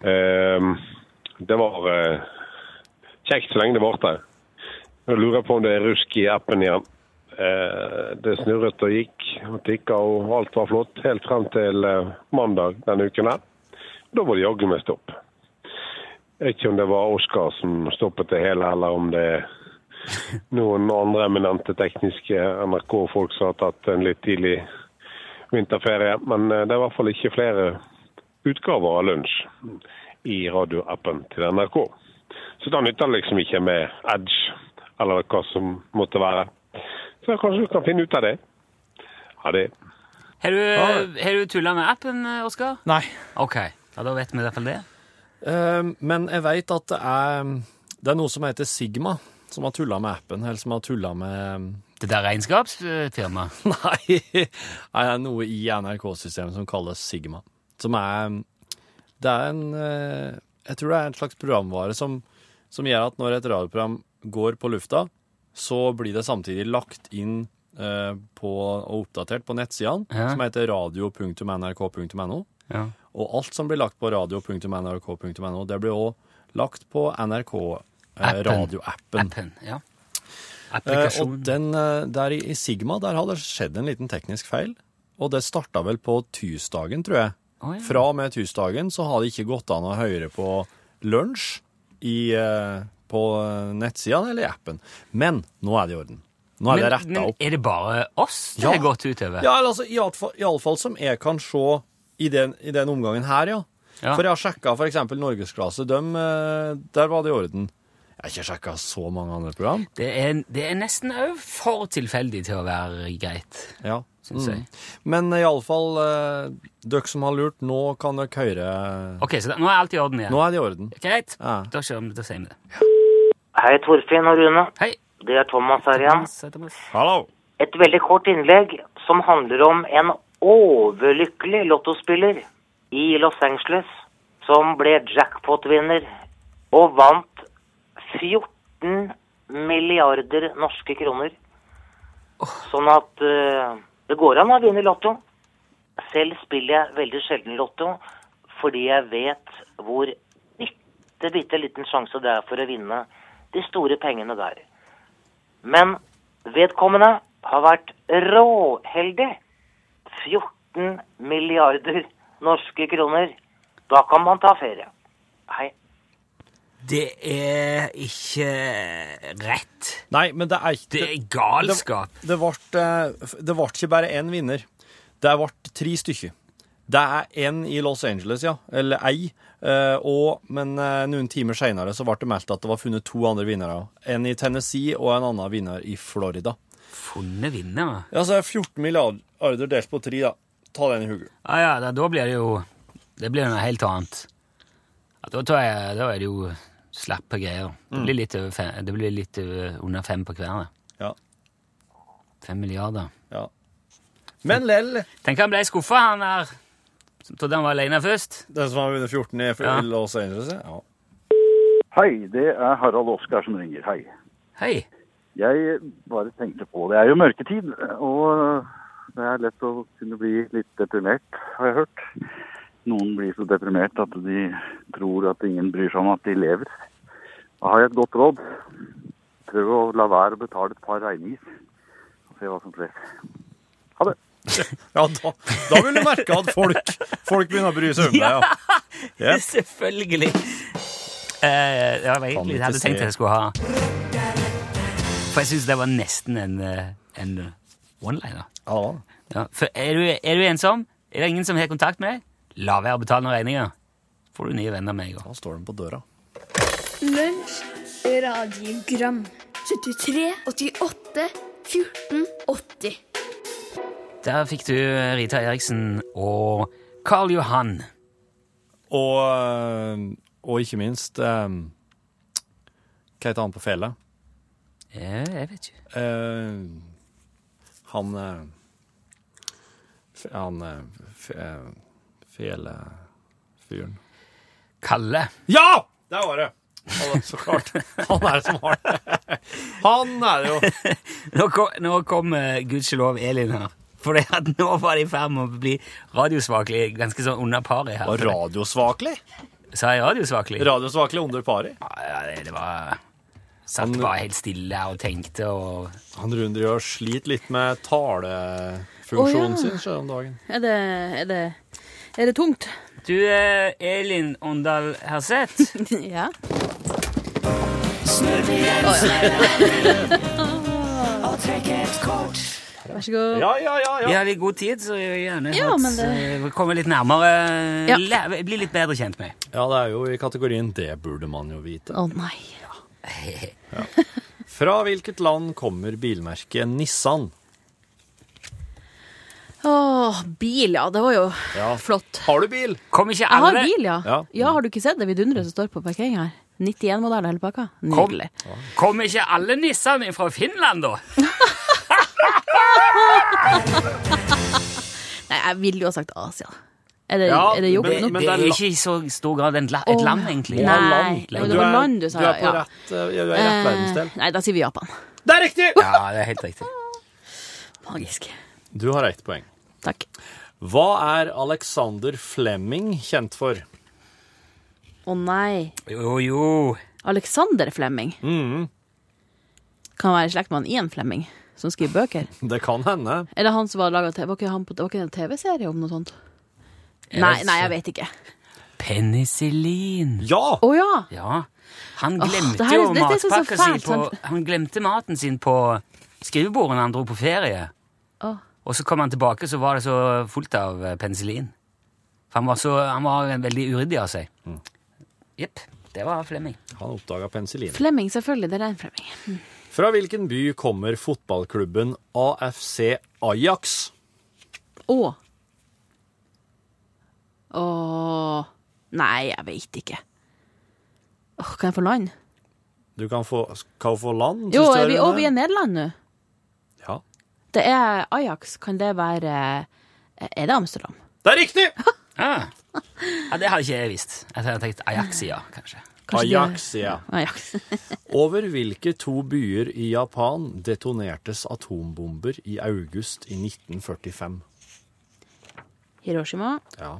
Ehm, det var eh, kjekt så lenge det varte. Jeg lurer på om det er rusk i appen igjen. Eh, det snurret og gikk og tikka, og alt var flott helt frem til eh, mandag denne uken her. Da var det jaggu meg stopp. Jeg vet ikke om det var Oskar som stoppet det hele, eller om det er noen andre eminente tekniske NRK-folk som har tatt en litt tidlig vinterferie. Men eh, det er i hvert fall ikke flere utgaver av lunsj i radioappen til NRK. Så da nytter det liksom ikke med Edge, eller hva som måtte være. Så kanskje du kan finne ut av det. Ha det.
Har du, eh, har du tulla med appen, eh, Oskar?
Nei.
Ok, ja, da vet vi i hvert fall det.
Eh, men jeg vet at det er, det er noe som heter Sigma, som har tulla med appen, eller som har tulla med
Det der regnskapsfirmaet.
Nei, det er noe i NRK-systemet som kalles Sigma. Som er Det er en eh, Jeg tror det er en slags programvare som, som gjør at når et radioprogram går på lufta, så blir det samtidig lagt inn eh, på, og oppdatert på nettsidene,
Ja.
som heter radio.nrk.no.
Ja.
Og alt som blir lagt på radio.nrk.no, det blir også lagt på eh,
Appen.
NRK-radioappen.
Appen, ja.
Eh, og
Applikasjon.
den, eh, der i i Sigma der hadde det skjedd en liten teknisk feil, og det starta vel på tirsdagen, tror jeg.
Å, ja.
Fra og med tirsdagen så har det ikke gått an å høre på lunsj i, eh, på nettsida eller i appen. Men nå er det i orden. Nå er det
Men,
retta
men
opp.
er det bare oss det
Ja.
har gått utover?
Ja, eller altså, i alle fall- i alle fall som jeg kan se i den, i den omgangen her, ja.
Ja.
For jeg har sjekka f.eks. Norgesklasse. Dem, eh, der var det i orden. Jeg har ikke sjekka så mange andre program.
Det er, det er nesten òg for tilfeldig til å være greit,
Ja. Mm.
syns jeg.
Men iallfall, eh, dere som har lurt, nå kan dere høre
Ok, så da, nå er alt i orden igjen.
Nå er det i orden.
Greit,
Ja.
da kjører vi, da sier vi det.
Hei, Torfinn og Rune.
Hei.
Det er Thomas her igjen.
Thomas, Thomas.
Hallo!
Et veldig kort innlegg som handler om en overlykkelig lottospiller i Los Angeles som ble jackpot-vinner og vant 14 milliarder norske kroner. Sånn at eh, det går an å vinne lotto. Selv spiller jeg veldig sjelden lotto fordi jeg vet hvor bitte, bitte liten sjanse det er for å vinne de store pengene der. Men vedkommende har vært råheldig. 14 milliarder norske kroner. Da kan man ta ferie. Hei.
Det er ikke rett.
Nei, men det er ikke
Det er galskap.
Det, det, vart, eh, f- det vart ikke bare én vinner. Det vart tre stykker. Det er én i Los Angeles, ja. Eller ei. Eh, og, men eh, noen timer seinere ble det meldt at det var funnet to andre vinnere. også. En i Tennessee og en annen vinner i Florida.
Funnet vinnere.
Ja, så er 14 milliarder delt på tre, da. Ta den i hodet.
Ah, ja, da, da blir det jo Det blir noe helt annet. Ja, da, tar jeg, da er det jo slappe greier.
Mm.
Det blir litt, over fem, det blir litt over, under fem på hver. da.
Ja.
Fem milliarder.
ja. Men lell,
Tenk han ble skuffa, han der som trodde han var aleine først.
den som har vunnet 14 i
Ja.
Los Angeles, ja. ja.
Hei, det er Harald Oskar som ringer. Hei.
Hei.
Jeg bare tenkte på Det er jo mørketid, og det er lett å kunne bli litt deprimert, har jeg hørt. Noen blir så deprimert at de tror at ingen bryr seg om at de lever. Da har jeg et godt råd. Prøv å la være å betale et par regninger. Og se hva som skjer. Ha det.
Ja, da, da vil du merke at folk, folk begynner å bry seg om deg. Ja. Yep.
Selvfølgelig. Eh, det var egentlig det jeg
ikke
hadde tenkt
se.
jeg skulle ha. For jeg syns det var nesten en, eh, en one-liner.
Ja, da.
Ja. For er, du, er du ensom? Er det ingen som har kontakt med deg? La være å betale noen regninger. Får du nye venner med en gang.
Da står den på døra.
Lunsj, radiogram 73, 88, 14, 80
Der fikk du Rita Eriksen og Karl Johan.
Og, eh, og ikke minst eh, Hva heter han på fele?
Ja, jeg vet ikke.
Eh, han eh, f- Han eh, f- eh, felefyren
Kalle.
Ja! Der var det! Han er så klart. Han er det som har det. Han er det jo.
Nå kom, nå kom eh, gudskjelov Elin her. For det at nå var de i ferd med å bli radiosvakelig, ganske sånn under paret her.
Og radiosvakelig.
Sa jeg radiosvakelig?
Radiosvakelig under pari.
Ja, det, det var Satt
Han-
bare helt stille og tenkte og
Han Rune gjør sliter litt med talefunksjonen
Å, ja.
sin sjøl om dagen.
Er det, er det, er det tungt?
Du, eh, Elin Åndal Herseth,
ja. Vær så god.
Ja, ja, ja,
vi
ja.
har litt god tid, så jeg vil gjerne
Ja,
at,
men det-
eh, vi kommer litt nærmere.
Ja.
læ- Bli litt bedre kjent med.
Ja, det er jo i kategorien 'Det burde man jo vite'.
Å nei.
Fra hvilket land kommer bilmerket Nissan?
Åh, bil, ja. Det var jo
Ja.
flott.
Har du bil?
Kom ikke
Jeg har
alle
bil, ja.
Ja.
Ja, Har du ikke sett det vidunderet som står på parkering her? 91-modell hele pakka.
Kom.
Nydelig.
Kom ikke alle nissene fra Finland, da?
Nei, jeg ville jo ha sagt Asia. Er det,
Ja,
er det jobb
men-
nå?
det, det
det er
er
la-
ikke i så stor grad en la, et
Åh,
land, egentlig.
Nei,
Ja,
men
Men
det var land du sa,
du er på
ja.
rett, eh, ja, du er i rett verdensdel.
nei, da sier vi Japan.
Det er riktig!
Ja, det er helt riktig.
Magisk.
Du har ett poeng.
Takk.
Hva er Alexander Flemming kjent for?
Å nei.
Jo, jo.
Alexander Flemming.
Mm.
Kan være i slekt med han Ian Flemming, som skriver bøker.
Det kan hende.
Eller han som var laga TV. Var ikke han på, var ikke det en TV-serie om noe sånt?
Jeg
Nei,
vet
nei,
ikke.
jeg vet ikke.
Penicillin.
Ja!
Å ja!
Ja. Han
Åh,
glemte
det her er-
jo
det- det er så
matpakka si
fælt,
på
sant?
Han glemte maten sin på skrivebordet når han dro på ferie.
Åh.
Og så kom han tilbake, så var det så fullt av eh, penicillin. For han var, så, han var veldig uryddig av seg. Jepp. Det var Flemming.
Han oppdaga penicillin.
Flemming, selvfølgelig. Det er en Flemming.
Fra hvilken by kommer fotballklubben AFC Ajax?
Å. Å Nei, jeg veit ikke. Åh, kan jeg få land?
Du kan få, kan få land.
Jo,
synes du,
er vi, å,
Rune?
vi er Nederland nå.
Ja.
Det er Ajax. Kan det være eh, Er det Amsterdam?
Det er riktig!
Ah. Ja, det hadde ikke jeg visst. Jeg hadde tenkt Ajaxia, kanskje.
Kanskje det-
Ajax, ja.
Ajax.
Over hvilke to byer i Japan detonertes atombomber i august i 1945?
Hiroshima.
Ja.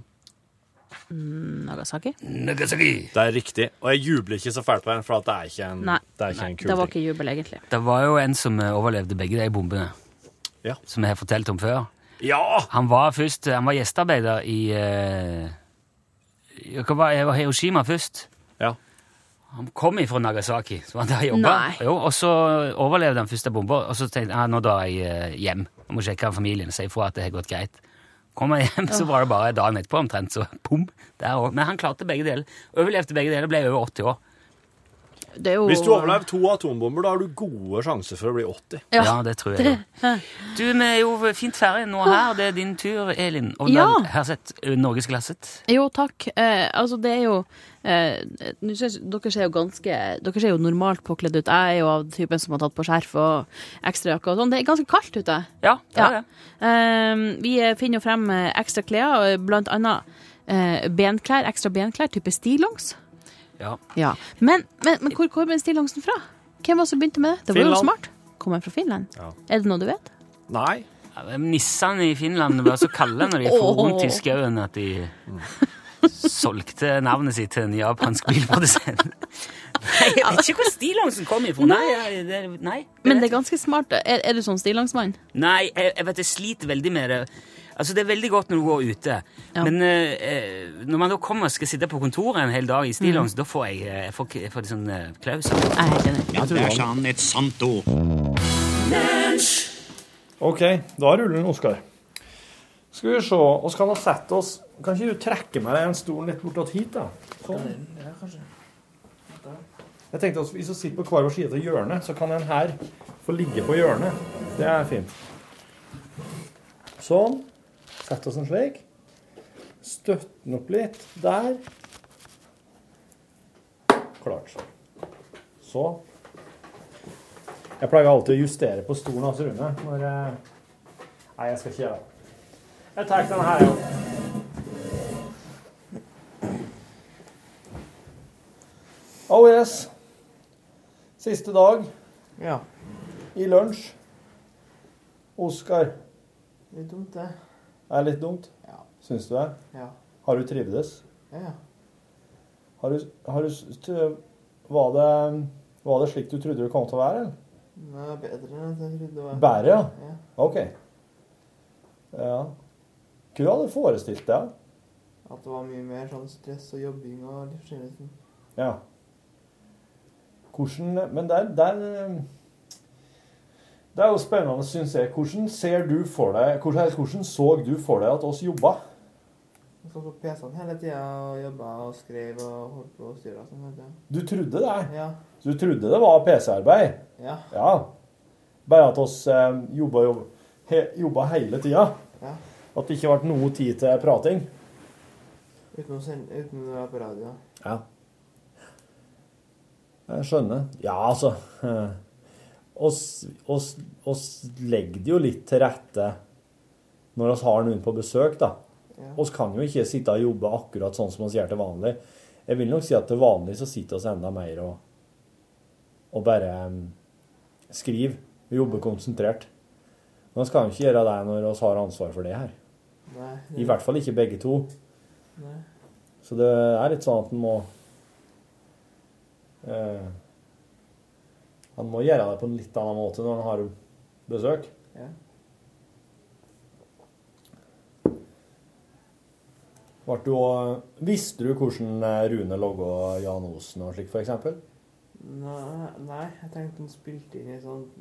Nagasaki.
Nagasaki.
Det er riktig. Og jeg jubler ikke så fælt på den, for at det er ikke en,
Nei.
det er ikke en kul
Det var
ting.
ikke jubel, egentlig.
Det var jo en som eh, overlevde begge de bombene,
Ja.
som jeg har fortalt om før.
Ja!
Han var først Han var gjestearbeider i eh, hva var- Hiroshima først.
ja!
Han kom ifra Nagasaki, så han der jobba.
Nei.
Jo, og så overlevde han første bomba, og så tenkte han ja, nå drar jeg eh, hjem. Jeg må sjekke av familien og si ifra at det har gått greit. Kom han hjem, så var det bare dagen etterpå omtrent, så pum, der òg. Men han klarte begge deler. Overlevde begge deler, ble over 80 år.
Det er jo
Hvis du overlever to atombomber, da har du gode sjanser for å bli 80.
Ja.
Ja, det tror jeg. Du, vi er jo fint ferdig nå her. Det er din tur, Elin. Og
Ja.
den her sett eh, Norgesglasset.
Jo, takk. Eh, altså, det er jo eh, nå synes- Dere ser jo ganske Dere ser jo normalt påkledd ut. Jeg er jo av typen som har tatt på skjerf og ekstrajakke og sånn. Det er ganske kaldt ute.
Ja, det er det.
Eh, vi eh, finner jo frem eh, ekstra klær, og blant annet eh, benklær, ekstra benklær, type stillongs.
Ja.
Ja. Men, men, men hvor kommer stillongsen fra? Hvem var det som begynte med det? Det var jo
Finland.
smart. Kommer fra Finland.
Ja.
Er det noe du vet?
Nei.
Nissene i Finland var så kalde når de for
Åh.
rundt i skauen at de solgte navnet sitt til en japansk bilprodusent. Nei, Jeg vet ikke hvor stillongsen kom ifra. Nei, jeg- det- nei.
Men det er ganske smart. Er, er du sånn stillongsmann?
Nei, jeg, jeg vet jeg sliter veldig med det. Altså, Det er veldig godt når du går ute,
Ja.
men eh, eh, når man da kommer og skal sitte på kontoret en hel dag i stillongs, da får jeg, eh, jeg, får, jeg får litt sånn eh, klauser.
Mm. Jeg er helt enig.
Ja, der sa han et sant ord.
OK, da ruller den, Oskar. Skal vi se Vi kan ha sett oss Kan ikke du trekke med deg en stol litt bortåt hit, da? Sånn. Jeg tenkte også, Hvis vi sitter på hver vår side av hjørnet, så kan en her få ligge på hjørnet. Det er fint. Sånn. Sett oss en slik. Støtt den opp litt. Der. Klart. Så. Jeg pleier alltid å justere på stolen hans Rune når jeg... Nei, jeg skal ikke gjøre det. Jeg tar den her, jo. Oh yes. Siste dag.
Ja.
I lunsj. Oskar.
Litt dumt, det.
Det er litt dumt. Ja. Syns du det?
Ja.
Har du trivdes?
Ja.
Har du, har du s- t- var, det, var det slik du trodde det kom til å være? eller?
Det er bedre enn jeg trodde det var.
Bære, ja?
Ja.
OK. Ja. Hva hadde du forestilt deg?
At det var mye mer sånn stress og jobbing og litt forskjellig sånn.
Ja. Hvordan Men der, der eh, Det er jo spennende, syns jeg. Hvordan ser du for deg Hvordan, hvordan så du for deg at oss jobba?
Jeg satt på PC-en hele tida og jobba og skrev og holdt på og styra og sånn. hele tiden.
Du trodde det?
Ja.
Så du trodde det var PC-arbeid?
Ja.
Bare at oss eh, jobba, jobb- he, jobba hele tida?
Ja.
At det ikke ble noe tid til prating?
Uten å, sende, uten å være på radio.
Ja. Jeg skjønner. Ja, altså eh, oss, oss, oss legger det jo litt til rette når oss har noen på besøk, da. Oss kan jo ikke sitte og jobbe akkurat sånn som oss gjør til vanlig. Jeg vil nok si at til vanlig så sitter oss enda mer og, og bare eh, skriver. Vi jobber konsentrert. Men vi kan jo ikke gjøre det når oss har ansvar for det her.
Nei.
I hvert fall ikke begge to.
Nei.
Så det er litt sånn at en må eh, Han må gjøre det på en litt annen måte når han har besøk.
Ja.
Vart du, også- visste du hvordan eh, Rune logga Jan Osen og slik, f.eks.?
Nei, nei, jeg tenkte hun spilte inn i et sånt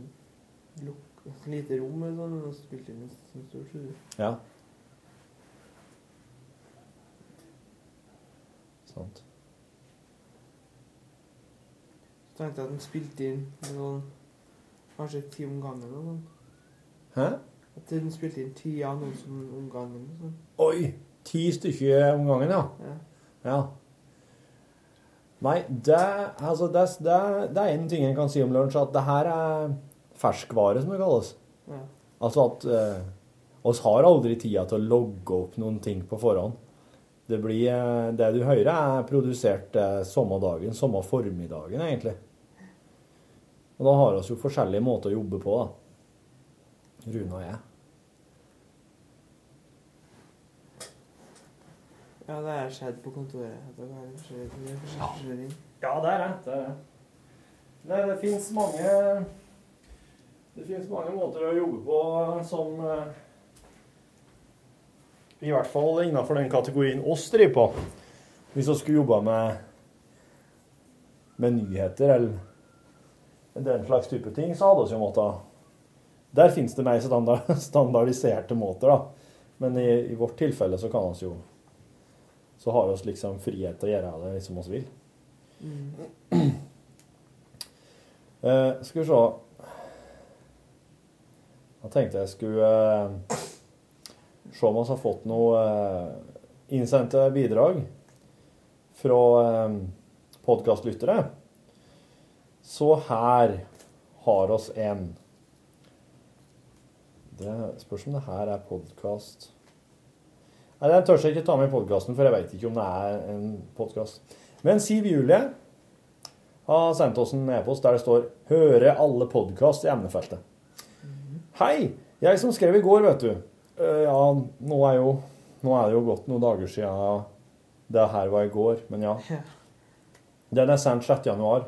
luk, lite rom eller sånn, men hun spilte inn i et sånt stort studio.
Ja. Sant.
Så tenkte jeg at hun spilte inn med sånn kanskje ti om gangen eller noe sånt.
Hæ?
At hun spilte inn ti av noen som om gangen og sånn.
Oi! Ti stykker om gangen, ja. Ja. Nei, det, altså, det, det, det er en ting en kan si om lunsj, at det her er ferskvare, som det kalles.
Ja.
Altså at eh, oss har aldri tida til å logge opp noen ting på forhånd. Det, blir, eh, det du hører, er produsert eh, samme dagen, samme formiddagen, egentlig. Og da har vi jo forskjellige måter å jobbe på, da. Rune og jeg.
Ja, det har skjedd på kontoret. At det var forskjellig, det er forskjellig, forskjellig.
Ja, det er det. Det, er det. Nei, det fins mange Det fins mange måter å jobbe på som eh, I hvert fall innenfor den kategorien oss driver på. Hvis vi skulle jobba med med nyheter eller den slags type ting, så hadde vi jo måttet Der finnes det mer standard, standardiserte måter, da. Men i, i vårt tilfelle så kan vi jo Så har vi liksom frihet til å gjøre det som vi vil. Mm. Eh, skal vi se Da tenkte jeg skulle eh, se om vi har fått noe eh, innsendte bidrag fra eh, podkastlyttere. Så her har oss en. Det spørs om det her er podkast Nei, den tør jeg ikke ta med i podkasten, for jeg veit ikke om det er en podkast. Men Siv Julie har sendt oss en e-post der det står 'Høre alle podkast' i emnefeltet. Hei! Jeg som skrev i går, vet du. Eh, Ja, nå er, jo, nå er det jo gått noen dager siden det her var i går, men ja. Den er sendt 6. januar.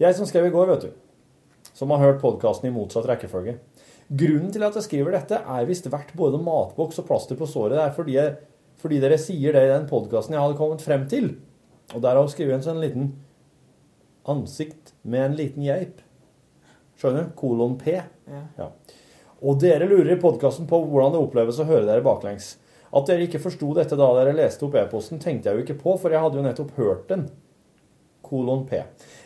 Jeg som skrev i går, vet du. Som har hørt podkasten i motsatt rekkefølge. Grunnen til at jeg skriver dette, er visst verdt både matboks og plaster på såret. Det er fordi, jeg, fordi dere sier det i den podkasten jeg hadde kommet frem til. Og der har hun skrevet en sånn liten ansikt med en liten geip. Skjønner du? Kolon P.
Ja.
Ja. Og dere lurer i podkasten på hvordan det oppleves å høre dere baklengs. At dere ikke forsto dette da dere leste opp e-posten, tenkte jeg jo ikke på, for jeg hadde jo nettopp hørt den. Kolon P.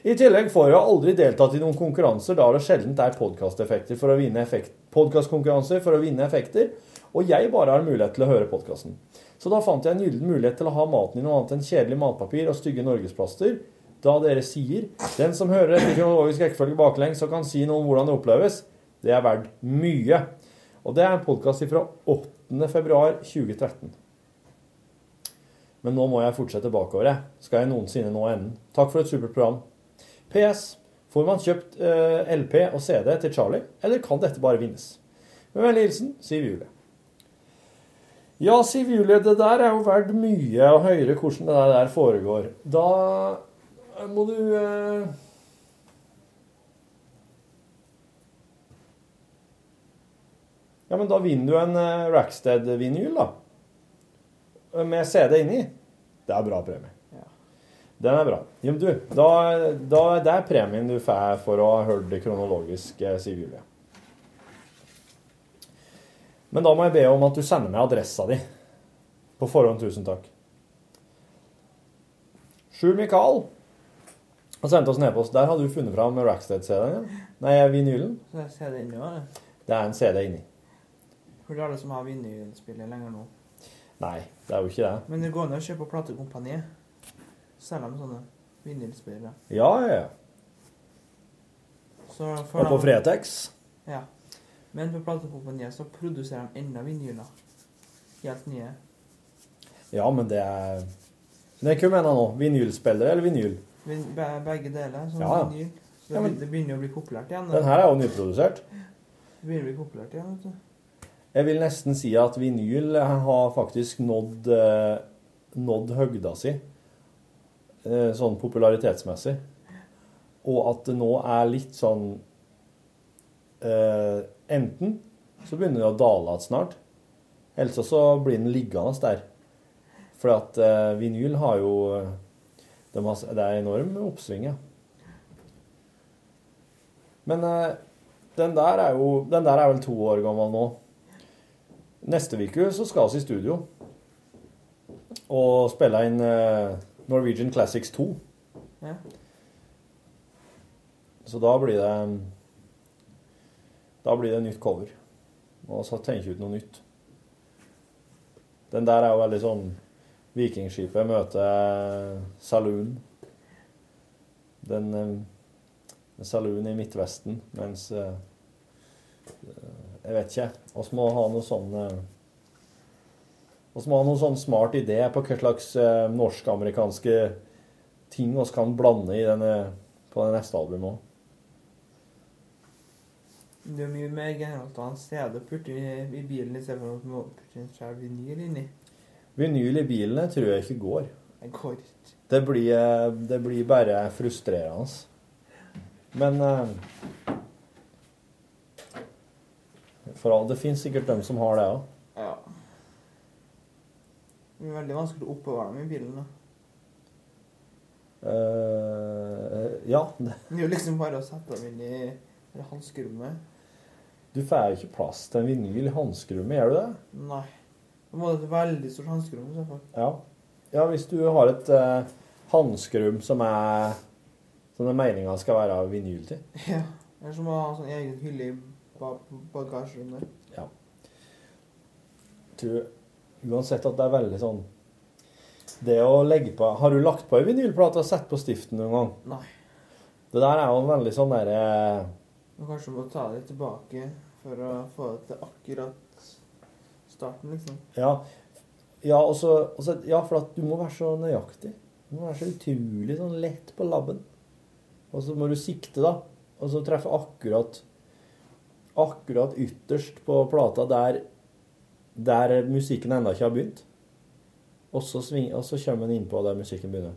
I tillegg får jeg aldri deltatt i noen konkurranser, da det sjelden er podkasteffekter for å vinne effekt podcastkonkurranser for å vinne effekter, og jeg bare har mulighet til å høre podkasten. Så da fant jeg en gyllen mulighet til å ha maten i noe annet enn kjedelig matpapir og stygge norgesplaster, da dere sier 'Den som hører etter kronologisk rekkefølge baklengs og kan si noe om hvordan det oppleves', det er verdt mye. Og det er en podkast fra 8. februar 2013. Men nå må jeg fortsette bakover, jeg. Skal jeg noensinne nå enden? Takk for et supert program. PS. Får man kjøpt eh, LP og CD til Charlie, eller kan dette bare vinnes? Med vennlig hilsen Siv Julie. Ja, Siv Julie, det der er jo verdt mye å høre hvordan det der foregår. Da må du eh, Ja, men da vinner du en eh, Rackstead-vinyl, da. Med CD inni. Det er bra premie. Den er bra. Jo, men du, da, da, det er premien du får for å ha hørt det kronologisk, eh, sier Julie. Men da må jeg be om at du sender meg adressa di. På forhånd, tusen takk. Sjur Mikael har sendt oss en e-post. Der har du funnet fram Rackstead-CD-en din. Nei, vinylen.
Så jeg ser det inni også, jeg.
Det er en CD inni.
For det er alle som har vinylspillet lenger nå.
Nei, det er jo ikke det.
Men det går an å kjøpe på platekompaniet. Selger de sånne vinylspillere.
Ja, ja, ja.
Så får
Og på
de-
Fretex.
Ja. Men på platekompaniet så produserer de enda vinyler. Helt nye.
Ja, men det er Men jeg kunne mene nå. Vinylspillere eller vinyl?
Vin- be- Begge deler. Sånn
Ja, ja.
vinyl. Så
Ja,
det
men-
begyn- det begynner å bli populært igjen. da.
Den her er jo nyprodusert.
Det begynner å bli populært igjen, vet du.
Jeg vil nesten si at vinyl har faktisk nådd, eh, nådd høgda si, eh, sånn popularitetsmessig. Og at det nå er litt sånn eh, Enten så begynner det å dale igjen snart, eller så- så blir den liggende der. For at eh, vinyl har jo de har, Det er enorm oppsving, ja. Men eh, den der er jo Den der er vel to år gammel nå. Neste uke så skal vi i studio og spille inn eh, Norwegian Classics 2.
Ja.
Så da blir det Da blir det nytt cover. Og så tenker jeg ut noe nytt. Den der er jo veldig sånn Vikingskipet møter Saloon. Den eh, Saloon i Midtvesten, mens eh, Jeg vet ikke. Vi må ha noe sånn eh, og så må ha noen sånn smart idé på hva slags eh, norsk-amerikanske ting vi kan blande i denne, på det neste albumet òg.
Det er mye mer generelt å ha en CD å putte i, i bilen istedenfor å må putte en svær vinyl inni.
Vinyl i bilene tror jeg ikke går.
Det går ikke.
Det blir, eh, det blir bare frustrerende. Men eh, For all det fins sikkert dem som har det òg.
Ja. Det blir veldig vanskelig å oppbevare dem i bilen. da.
Eh, ja.
Det er jo liksom bare å sette dem inn i det hanskerommet.
Du får jo ikke plass til en vinyl i hanskerommet, gjør du det?
Nei. Da må det være et veldig stort hanskerom i så fall.
Ja. ja hvis du har et uh, hanskerom som er Som det er meninga skal være vinyl til.
Ja. Eller så må man ha sånn egen hylle i ba bagasjerommet.
Ja. Tror uansett at det er veldig sånn Det å legge på Har du lagt på ei vinylplate og satt på stiften noen gang?
Nei.
Det der er jo en veldig sånn derre
Men kanskje du må ta det tilbake for å få det til akkurat starten, liksom.
Ja, ja, og så- og så- ja, for at du må være så nøyaktig. Du må være så utrolig sånn lett på labben. Og så må du sikte, da. Og så treffe akkurat akkurat ytterst på plata der, der musikken ennå ikke har begynt. Og så, sving, og så kommer den innpå der musikken begynner.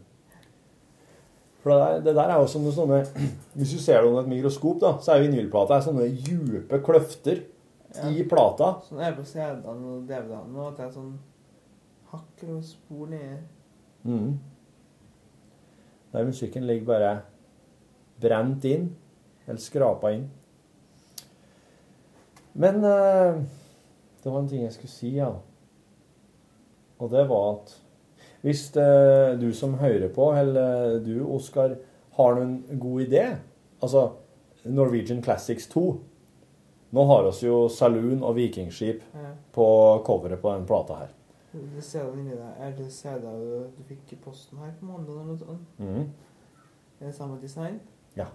For det der, det der er jo som noen sånne Hvis du ser det under et mikroskop, da, så er jo vinylplata er sånne dype kløfter i plata.
Sånn er det på CD-ene og DVD-ene nå, at det er sånn hakk og spor nedi.
Mhm. Der musikken ligger bare brent inn, eller skrapa inn. Men eh, det var en ting jeg skulle si, ja. Og det var at hvis eh, du som hører på, eller eh, du, Oskar, har noen god idé Altså Norwegian Classics 2. Nå har oss jo Saloon og Vikingskip
Ja.
på coveret på den plata her.
Det CD-en inni deg Er det CD-en du, du fikk i posten her på mandag eller noe sånt?
Mhm.
sånn. Er det samme design?
Ja,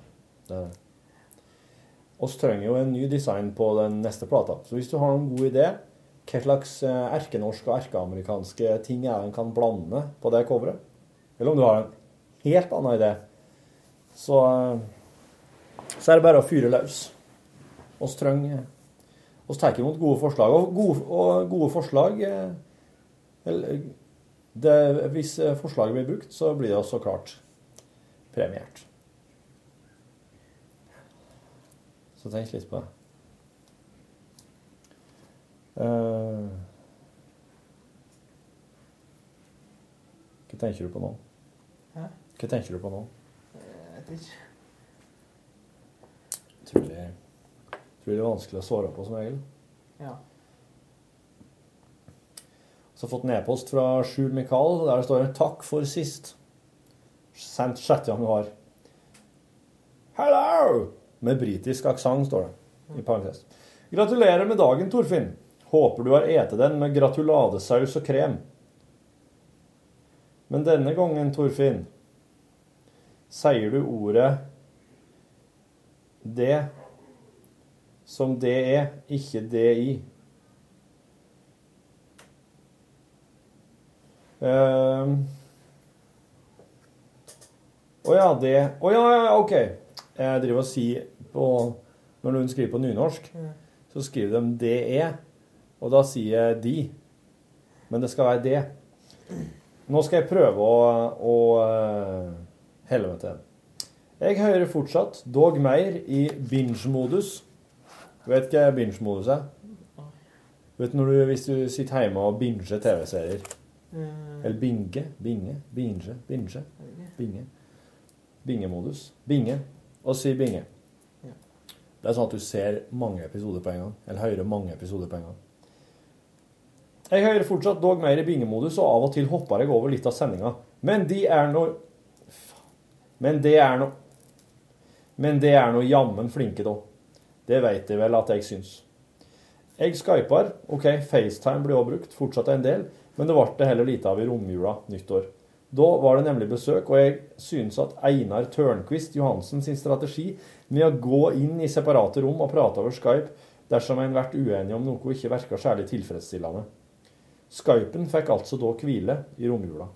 det er det. Vi trenger jo en ny design på den neste plata. Så hvis du har noen god idé, hva slags eh, erkenorske og erkeamerikanske ting er det en kan blande på det coveret? Eller om du har en helt annen idé, så, eh, så er det bare å fyre løs. Vi trenger Vi tar imot gode forslag. Og gode, og gode forslag eh, eller, det, Hvis eh, forslaget blir brukt, så blir det så klart premiert. Så tenk litt på det. Eh, hva tenker du på nå?
Hæ?
Hva tenker du på nå?
Jeg vet ikke.
Utrolig utrolig vanskelig å svare på som regel.
Ja.
Så har jeg fått en e-post fra Sjul Mikael, der det står 'Takk for sist'. Sendt 6. januar. Hello! Med britisk aksent, står det. I parentes. Gratulerer med dagen, Torfinn. Håper du har ete den med gratuladesaus og krem. Men denne gangen, Torfinn, sier du ordet det som det er, ikke det i. Ehm. Å ja, det Å ja, ja, ja, OK. Jeg driver og sier på Når noen skriver på nynorsk,
Ja.
så skriver de 'det er', og da sier jeg 'de'. Men det skal være 'det'. Nå skal jeg prøve å, å eh, Helvete. Jeg hører fortsatt dog mer i binge-modus. Vet hva binge-modus er? Vet når du, Hvis du sitter hjemme og binger TV-serier.
Eh,
Eller binge, binge, binge, binge,
Binge.
binge. Bingemodus. Binge. Og si binge.
Ja.
Det er sånn at du ser mange episoder på en gang. Eller hører mange episoder på en gang. Jeg hører fortsatt dog mer i bingemodus, og av og til hopper jeg over litt av sendinga. Men de er nå Faen. Men det er nå Men det er nå jammen flinke, da. Det veit de vel at jeg syns. Jeg skyper. Ok, FaceTime blir også brukt, fortsatt en del, men det ble det heller lite av i romjula nyttår. Da var det nemlig besøk, og jeg synes at Einar Tørnquist Johansen sin strategi med å gå inn i separate rom og prate over Skype dersom en vært uenig om noe ikke virka særlig tilfredsstillende. Skypen fikk altså da hvile i romjula.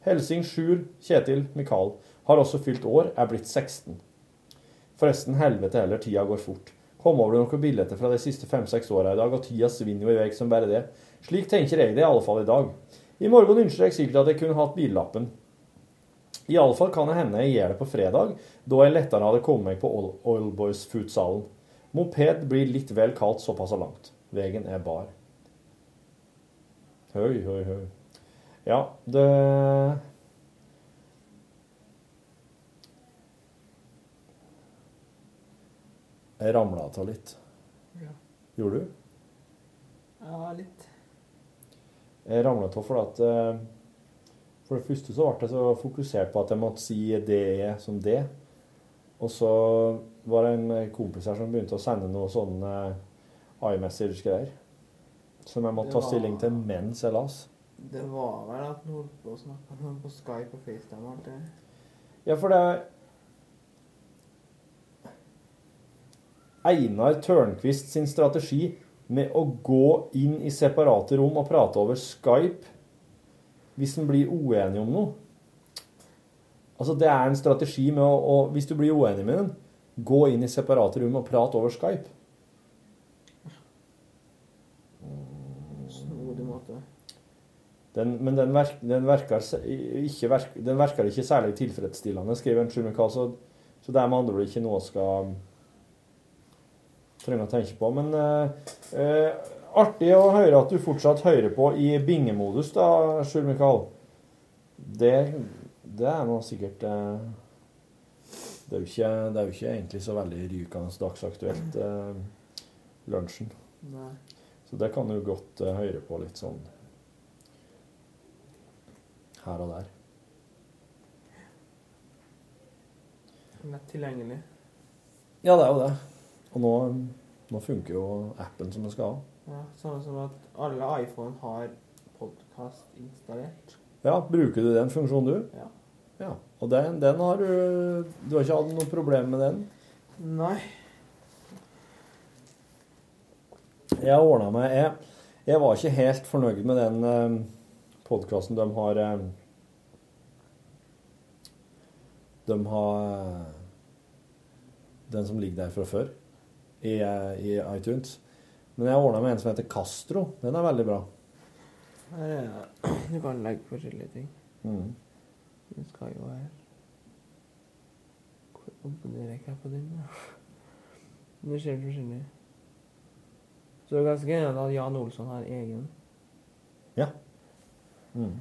Helsing Sjur Kjetil Mikael har også fylt år, er blitt 16. Forresten, helvete heller, tida går fort. Kom over noen bilder fra de siste fem-seks åra i dag, og tida svinner jo i vei som bare det. Slik tenker jeg det i alle fall i dag. I morgen ønsker jeg sikkert at jeg kunne hatt billappen. Iallfall kan det hende jeg gjør det på fredag, da jeg lettere hadde kommet meg på Oil- Oilboys Food-salen. Moped blir litt vel kaldt såpass langt. Vegen er bar. Høy, høy, høy. Ja, det Jeg ramla av litt.
Ja.
Gjorde du?
Ja, litt.
Jeg ramla av fordi at eh, For det første så ble jeg så fokusert på at jeg måtte si det som det. Og så var det en kompis her som begynte å sende noe sånn iMessage-greier. Som jeg måtte
Det
ta stilling
var-
til mens jeg las.
Det var vel at han holdt på å snakke med noen på Skype og FaceTime og alt det der.
Ja, for det er Einar Tørnquist sin strategi med å gå inn i separate rom og prate over Skype hvis en blir uenig om noe. Altså, det er en strategi med å, å Hvis du blir uenig med den, gå inn i separate rom og prate over Skype.
Snodig måte.
Den, men den, verk, den, verker, se- i- ikke verk, den verker ikke særlig tilfredsstillende, skriver en Shumikal, så, så det er med andre ord ikke noe jeg skal um, trenge å tenke på. Men eh, eh, artig å høre at du fortsatt hører på i bingemodus, da, Shumikal. Det, det er nå sikkert eh, det, er jo ikke, det er jo ikke egentlig så veldig rykende dagsaktuelt, eh, lunsjen.
Nei.
Så det kan du godt eh, høre på litt sånn her og der.
Lett tilgjengelig.
Ja, det er jo det. Og nå, nå funker jo appen som den skal ha.
Ja, samme som at alle iPhone har podkast installert.
Ja, bruker du den funksjonen, du?
Ja.
ja. Og den, den har du Du har ikke hatt noe problem med den?
Nei.
Jeg ordna meg jeg, jeg var ikke helt fornøyd med den eh, podkasten de har eh, De har eh, Den som ligger der fra før, i, eh, i iTunes. Men jeg ordna meg en som heter Castro. Den er veldig bra.
Her er det. Du kan legge forskjellige ting.
Mm.
Den skal jo her. Hvor abonnerer jeg ikke på den, da? Det skjer forskjellig. Så det er ganske gøy at Jan Olsson har egen.
Ja. Mm.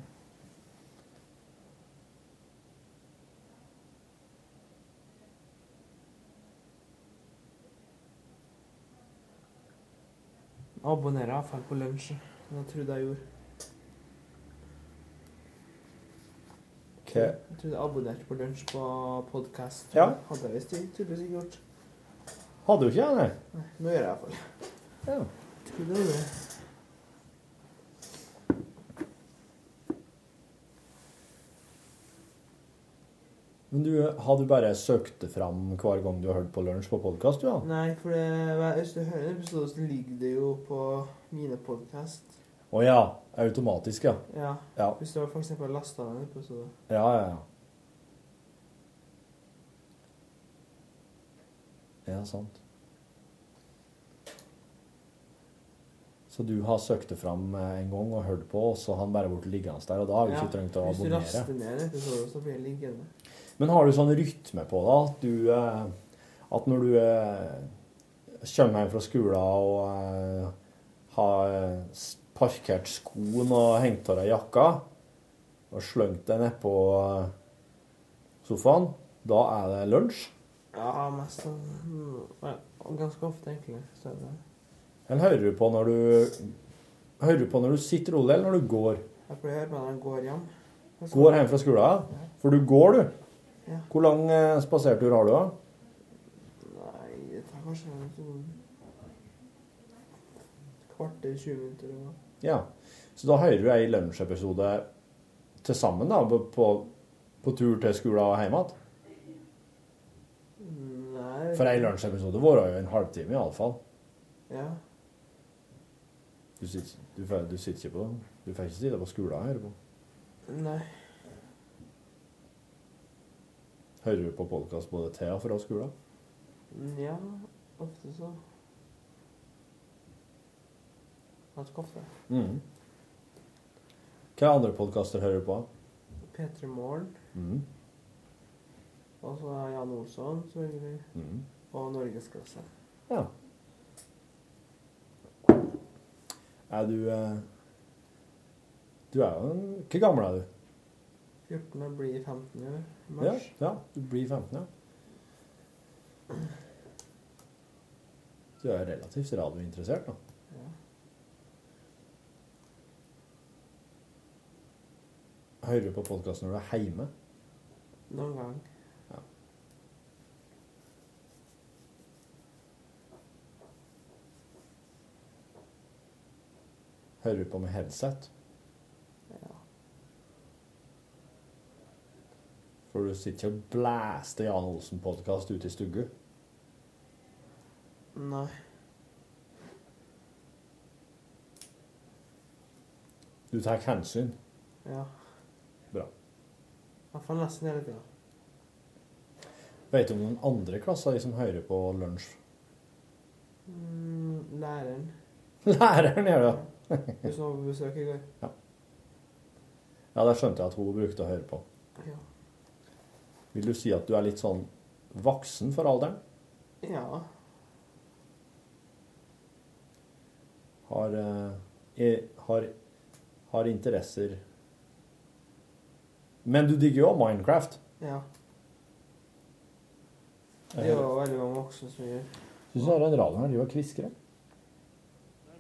Abonnerer iallfall på lunsj. Det trodde jeg gjorde.
Hva-
Jeg trodde jeg abonnerte på lunsj på podkast.
Ja.
Hadde jeg visst ikke- tydeligvis ikke gjort.
Hadde jo ikke jeg, nei.
Nei, nå gjør jeg iallfall.
Ja.
Trodde jeg gjorde det.
Men du, har du bare søkt det fram hver gang du har hørt på lunsj på podkast, du, ja?
Nei, for det, hver- hvis du hører en episode, så ligger det jo på mine podkast.
Å ja. Automatisk, ja.
Ja.
Ja,
Hvis du har for eksempel lasta ned en episode.
ja, ja. ja. Ja, sant. Så du har søkt det fram eh, en gang og hørt på, og så har han bare blitt liggende der, og da har du ikke trengt å
Hvis du
abonnere.
laster ned en episode, så blir det liggende.
Men har du sånn rytme på det? At, du, eh, at når du eh, kommer hjem fra skolen og eh, har s- parkert skoen og hengt av deg jakka og slengt deg nedpå eh, sofaen, da er det lunsj?
Ja, mest sånn mm, ja, og Ganske ofte, egentlig. Så er det.
Eller hører du på når du Hører du på når du sitter rolig, eller når du går?
Jeg pleier å høre på når jeg går hjem. Jeg skal-
Går hjem fra skolen? ja? For du går, du.
Ja.
Hvor lang eh, spasertur har du, da?
Nei, det tar kanskje en sånn kvarter, 20 minutter eller noe.
Ja. Så da hører du ei lunsjepisode til sammen, da, på- på, på tur til skolen og hjem igjen.
Nei
For ei lunsjepisode varer jo en halvtime, iallfall.
Ja.
Du, sitter- du, får- du sitter ikke på Du får ikke sitte på skolen og høre på.
Nei.
Hører du på podkast både til og fra skolen?
Nja, ofte så Ganske ofte.
Mhm. Hva andre podkaster hører du på?
P3 Morgen,
Mhm.
og så er Jan Olsson, selvfølgelig.
Mhm.
Og Norgesklasse.
Ja. Er du eh, Du er jo en Hvor gammel er du?
14. blir 15 i år, i
Ja,
mars.
ja, du blir 15, ja. Du er relativt radiointeressert, da. Hører du på podkast når du er hjemme?
Noen gang.
Hører du på med headset?
Ja.
For du sitter ikke og blæster Jan Olsen-podkast ute i stugu.
Nei.
Du tar hensyn.
Ja.
Bra.
I hvert fall nesten hele tida.
Vet du om noen andre klasser de som hører på lunsj?
Mm, læreren.
Læreren gjør det.
Hun som var på besøk i går.
Ja, der skjønte jeg at hun brukte å høre på.
Ja.
Vil du si at du er litt sånn voksen for alderen?
Ja.
Har, eh, e- har, har interesser Men du digger jo også Minecraft.
ja. Det er jo veldig mange voksne som gjør.
Syns du den radioen her driver og kviskrer?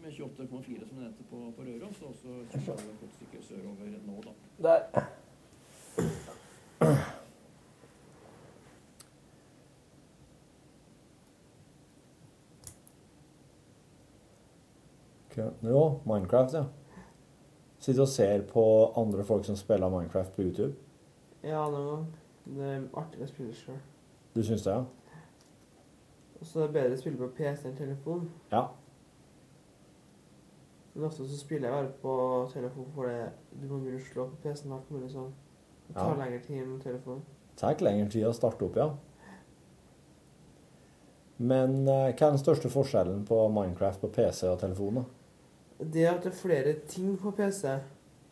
Med 28,4 som nevnte på, på Røros, og så kjører vi et godt stykke sørover nå, da.
Der. Jo, Minecraft, ja. Sitter og ser på andre folk som spiller Minecraft på YouTube.
Ja, noen gang. Det er artigere å spille sjøl.
Du syns det, ja?
Og så er det bedre å spille på PC enn telefon.
Ja.
Men ofte så spiller jeg bare på telefon for det du må begynne å slå på PC-en alt mulig sånn. Det tar
Ja.
lengre tid enn telefon.
tar ikke lengre tid å starte opp, ja. Men eh, hva er den største forskjellen på Minecraft på PC og telefon? da?
Det at det er flere ting på PC.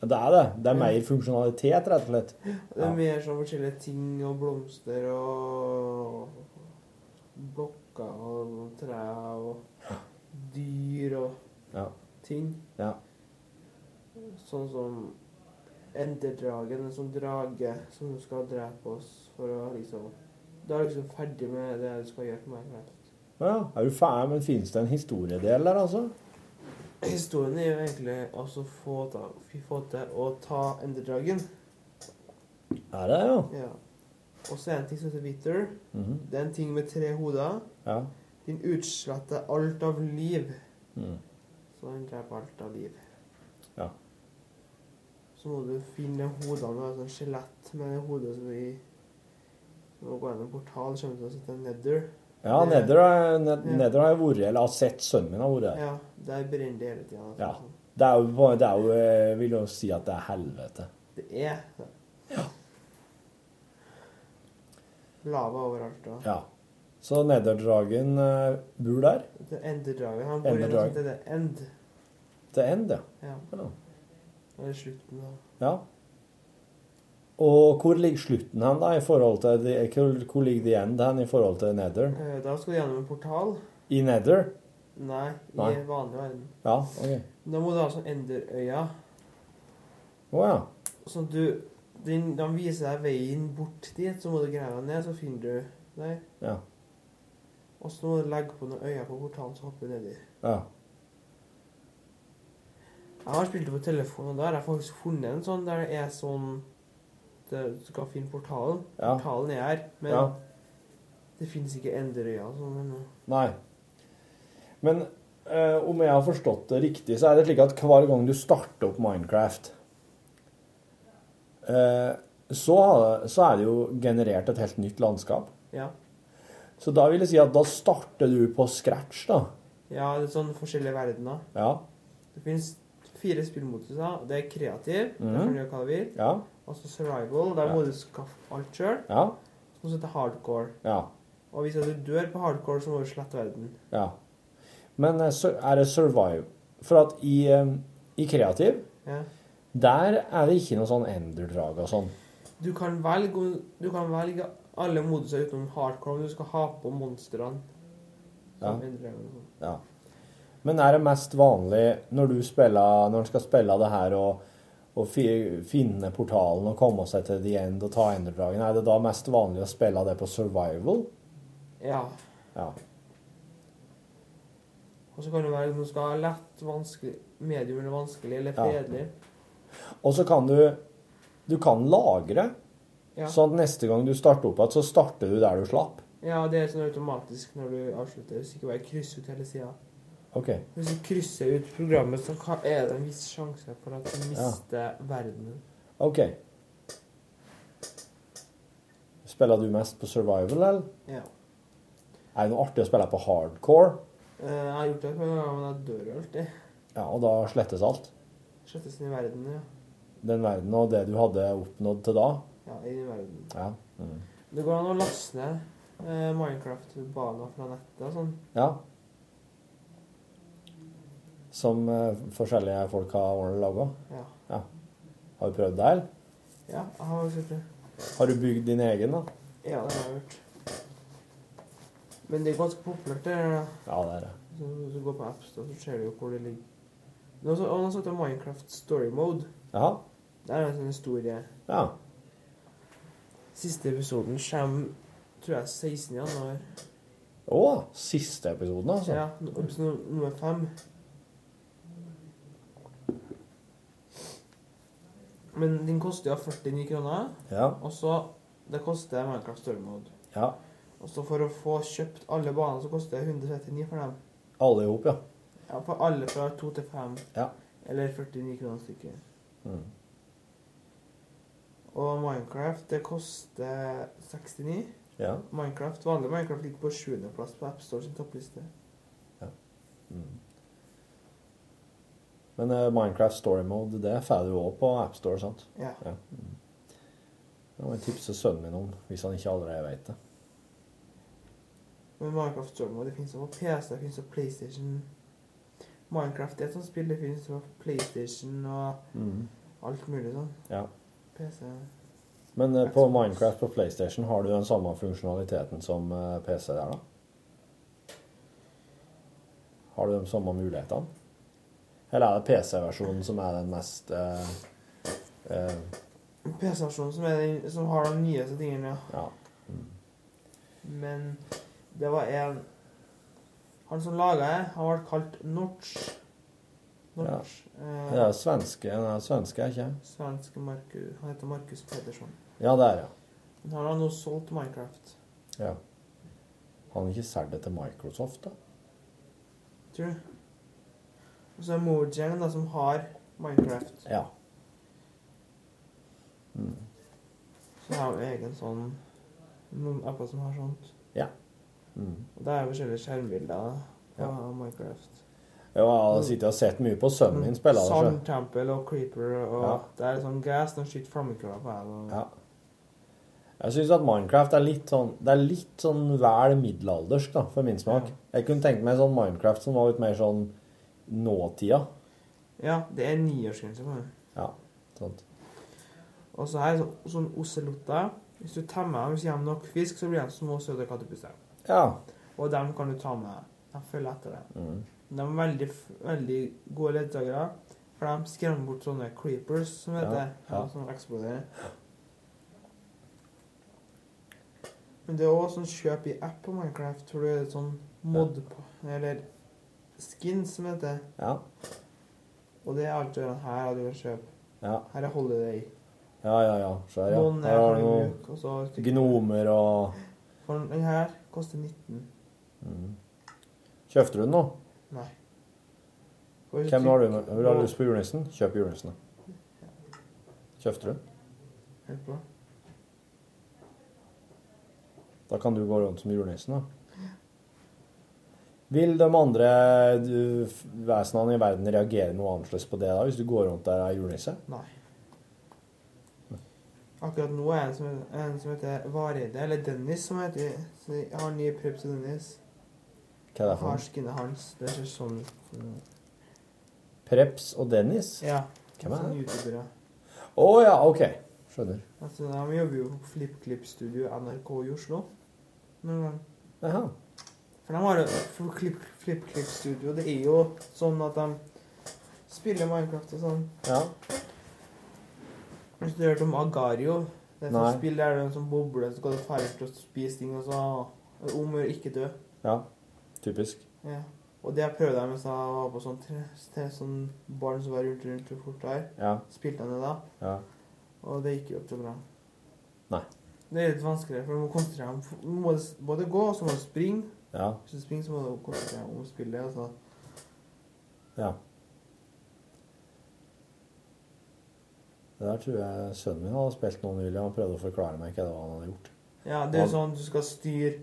Det er det. Det er mer funksjonalitet, rett og slett.
Det er mer sånn forskjellige ting og blomster og blokker og trær og dyr og
Ja.
ting.
Ja.
Sånn som enterdragen, en sånn drage som du skal drepe oss for å liksom Da er du liksom ferdig med det du skal gjøre på Minecraft.
Ja, er du ferdig, men finnes det en historiedel der, altså?
Historien er jo egentlig også få, ta, få til å ta enderdragen.
Er det, ja?
Ja. Og så er det en ting som heter bitter.
Mhm.
Det er en ting med tre hoder.
Ja.
Den utsletter alt av liv.
Mm.
Så den dreper alt av liv.
Ja.
Så må du finne hodene med sånn skjelett med det hodet som vi Du må gå gjennom en portal, kommer til å sitte en nether.
Ja,
Det-
Neder har, ned,
Ja.
Neder har jeg vært, eller har sett sønnen min har vært der.
Ja. Der brenner det hele altså. tida.
Ja. Det er jo, bare- det er jo eh, Vil jo si at det er helvete.
Det er det. Lava overalt. Og.
Ja. Så Nederdragen eh, bor der.
Det er enderdragen. Han bor i noe
Enderdragen.
som heter end.
Til end, ja.
Ja.
Ja.
Det er slutten, da.
ja. Og hvor ligger slutten hen, da? i forhold til, de- hvor- Hvor ligger the end hen i forhold til Nether?
Eh, Da skal du gjennom en portal.
I Nether?
Nei, i
Nei.
vanlig verden.
Ja, OK.
Da må du ha sånn enderøya.
Å ja.
Sånn at du den, De viser deg veien bort dit, så må du grave deg ned, så finner du deg.
Ja.
Og så må du legge på noen øyne på portalen, så hopper du nedi.
ja.
Jeg har spilt det på telefon, og da har jeg faktisk funnet en sånn der det er sånn det, Du skal finne portalen.
Ja.
Portalen er her, men
Ja.
det finnes ikke enderøya og sånn ennå.
Nei. Men eh, om jeg har forstått det riktig, så er det slik at hver gang du starter opp Minecraft, eh, så, har- så er det jo generert et helt nytt landskap.
Ja.
Så da vil jeg si at da starter du på scratch, da.
ja, det er sånn forskjellige verdener.
Ja.
Det finnes fire spillmoduser. Det er kreativ,
Mhm.
der kan du gjøre hva du vil.
Ja.
Og så survival, der må du skaffe alt sjøl.
Ja.
Og så heter hardcore.
Ja.
Og hvis du dør på hardcore, så må du slette verden.
ja. Men eh, så er det survive. For at i, eh, i kreativ,
Ja.
der er det ikke noe sånn enderdrag og sånn.
Du kan velge, om- du kan velge alle moduser utenom hardcore, men du skal ha på monstrene. Som
Ja.
endrer og sånn.
Ja. Men er det mest vanlig når du spiller, når du skal spille det her og, og fi- finne portalen og komme seg til the end og ta enderdragen, er det da mest vanlig å spille det på survival?
Ja.
Ja.
Og så kan det være at man skal ha lett, vanskelig, medium eller vanskelig, eller
Ja.
fredelig.
Og så kan du Du kan lagre,
Ja.
sånn at neste gang du starter opp igjen, så starter du der du slapp.
Ja, det er sånn automatisk når du avslutter, hvis ikke bare kryss ut hele tida.
OK.
Hvis du krysser ut programmet, så kan- er det en viss sjanse for at du mister verdenen.
ok. Spiller du mest på survival, eller?
Ja.
Er det noe artig å spille på hardcore?
Eh, Jeg har gjort det et par ganger, men jeg dør jo alltid.
Ja, og da slettes alt.
Slettes inn i verden, ja.
Den verden og det du hadde oppnådd til da.
Ja, inn i verden.
Ja. Mm.
Det går an å laste ned eh, Minecraft-baner fra nettet og sånn.
ja. Som eh, forskjellige folk har ordnet laga.
Ja.
ja. Har du prøvd det, eller?
Ja, jeg har sett det.
Har du bygd din egen, da?
Ja, det har jeg gjort. Men det er ganske populært, det der. da.
Ja, det er det.
Så Hvis du går på AppStore, så ser du jo hvor det ligger. Nå så, og nå satte jeg Minecraft Story Mode.
Jaha.
Det er en sånn historie.
Ja.
Siste episoden kommer, tror jeg, 16. januar.
Å, siste episoden, altså.
Ja, nå- episode nummer fem. Men den koster jo 49 kroner.
Ja.
Og så Det koster Minecraft Story Mode.
Ja.
Og så for å få kjøpt alle banene, så koster det 139 for dem.
Alle i hop, ja.
Ja, for alle fra 2 til 5.
Ja.
Eller 49 kroner stykket.
Mm.
Og Minecraft, det koster 69.
Ja.
Minecraft, Vanlig Minecraft ligger på 7. plass på AppStore sin toppliste.
Men eh, Minecraft Story Mode, det får du òg på AppStore, sant?
Ja.
Mm. Det må jeg tipse sønnen min om, hvis han ikke allerede vet det.
Men Minecraft Story Mode, det finnes jo på PC, det finnes jo på PlayStation. Minecraft er et sånt spill, det finnes jo på PlayStation og
Mhm.
alt mulig sånn.
Ja.
PC.
Men eh, på Minecraft på PlayStation har du den samme funksjonaliteten som eh, PC der, da? Har du de samme mulighetene? Eller er det PC-versjonen som er den mest eh, eh,
PC-versjonen som, er den- som har de nyeste tingene, ja.
Ja.
Men det var en Han som laga det, han ble kalt eh, Norch. Norch.
Det
Ja.
er svenske, den er svenske, ikke
Svenske Marku- Han heter Markus Pedersen.
Ja, det er ja.
Men Han har nå solgt Minecraft.
ja. Han har ikke solgt det til Microsoft, da?
Tror du? Og så er Mojang, da, som har Minecraft.
Ja.
Så har jo egen sånn Noen apper som har sånt.
Ja. Mm.
Og det er jo forskjellige skjermbilder av
Ja.
Minecraft.
Ja, jeg sitter og har sett mye på Mm. sønnen min spille det. sjø.
Sandtempel og Creeper og
altså. Ja.
Det er sånn gas når skyter flammekuler på deg. og-
Ja. Jeg syns at Minecraft er litt sånn Det er litt sånn vel middelaldersk, da, for min smak. Jeg kunne tenkt meg sånn Minecraft som var litt mer sånn nåtida.
Ja, det er niårsgrense på det.
Ja, sant.
Og så her, så, sånn oselotter. Hvis du temmer dem, hvis de gir dem nok fisk, så blir de små, søte kattepuser.
Ja.
Og dem kan du ta med deg. De følger etter deg.
Mm.
De er veldig, f- veldig gode ledsagere, for de skremmer bort sånne creepers, som
Ja,
heter det. Ja,
ja.
Som eksploderer. Men det er også sånn kjøp i app på Minecraft, hvor du er sånn mod på, eller skin, som heter.
Ja.
Og det er alt du gjør her, og du kan kjøpe.
Ja.
Her er holiday.
Ja, ja, ja. Så her, ja.
Noen er
Her har du
Hollywood, og så
noen gnomer og
For den her koster 19.
mm. Kjøpte du den nå?
Nei.
Hvem har du med? Vil du ha lyst på julenissen? Kjøp julenissen. da. Kjøpte du den?
Hør på.
Da kan du gå rundt som julenissen, da. Vil de andre du, f- vesenene i verden reagere noe annerledes på det da, hvis du går rundt der og er julenisse?
Nei. Akkurat nå er en som, en som heter Vareide, eller Dennis, som heter så Jeg har en ny prep til Dennis.
Hva er det for
Har
noe?
skinnet hans. Det ser sånn ut.
Preps og Dennis?
Ja.
Hvem er
sånn
det?
youtubere.
Å ja, OK. Skjønner.
Altså, de jobber jo på FlippKlipp-studio NRK i Oslo. Noen gang.
Jaha.
For de har jo for Klipp- FlippKlipp-studio. Det er jo sånn at de spiller Minecraft og sånn.
Ja.
Hvis du har hørt om Agario Det er et sånt
Nei.
spill der du er en sånn boble, så skal du fare ut og spise ting, og så er det om å gjøre ikke dø.
Ja. Typisk.
Ja. Og det jeg prøvde jeg mens jeg var på sånn, tre, tre, sånn barn som var rundt rundt hvor fort der.
Ja.
Spilte jeg det da.
Ja.
Og det gikk jo ikke så bra.
Nei.
Det er litt vanskeligere, for du må konsentrere deg om Du må både gå, og så må du springe.
Ja.
Hvis du springer, så må du konsentrere deg om spillet. Altså.
Ja. Det der tror jeg sønnen min hadde spilt noe nylig. Han prøvde å forklare meg hva det var han hadde gjort.
Ja, det er jo sånn du skal styre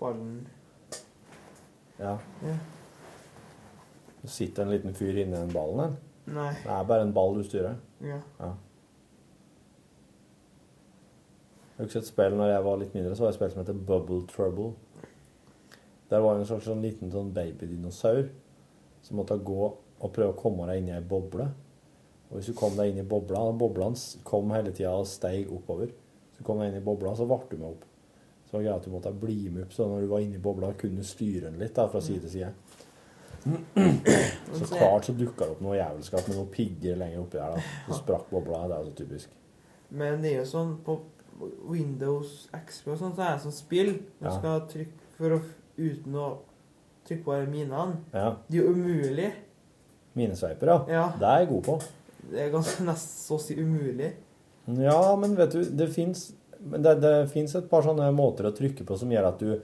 ballen.
Ja.
Ja.
Det sitter en liten fyr inni den ballen her.
Nei.
Det er bare en ball du styrer.
Ja.
ja. Jeg husker et spill når jeg var litt mindre, så var det et spill som heter Bubble Trouble. Der var det en slags sånn liten sånn babydinosaur som måtte gå og prøve å komme deg inn i ei boble. Og hvis du kom deg inn i bobla, og bobla s- kom hele tida og steig oppover, så kom du inn i bobla, så ble du med opp. Så det var greit at du måtte bli med opp, så når du var inni bobla, kunne du styre den litt da, fra side til side. Så klart så dukka det opp noe jævelskap med noen pigger lenger oppi der. da. Så sprakk bobla. Det er jo så typisk.
Men det er jo sånn på Windows XP og sånn, så er det sånn spill. Du
Ja.
skal trykke for å, uten å trykke på alle minene.
Ja.
Det er jo umulig.
Minesveiper, ja.
Ja.
Det er jeg god på.
Det er ganske nesten så å si umulig.
Ja, men vet du, det fins det, det finnes et par sånne måter å trykke på som gjør at du,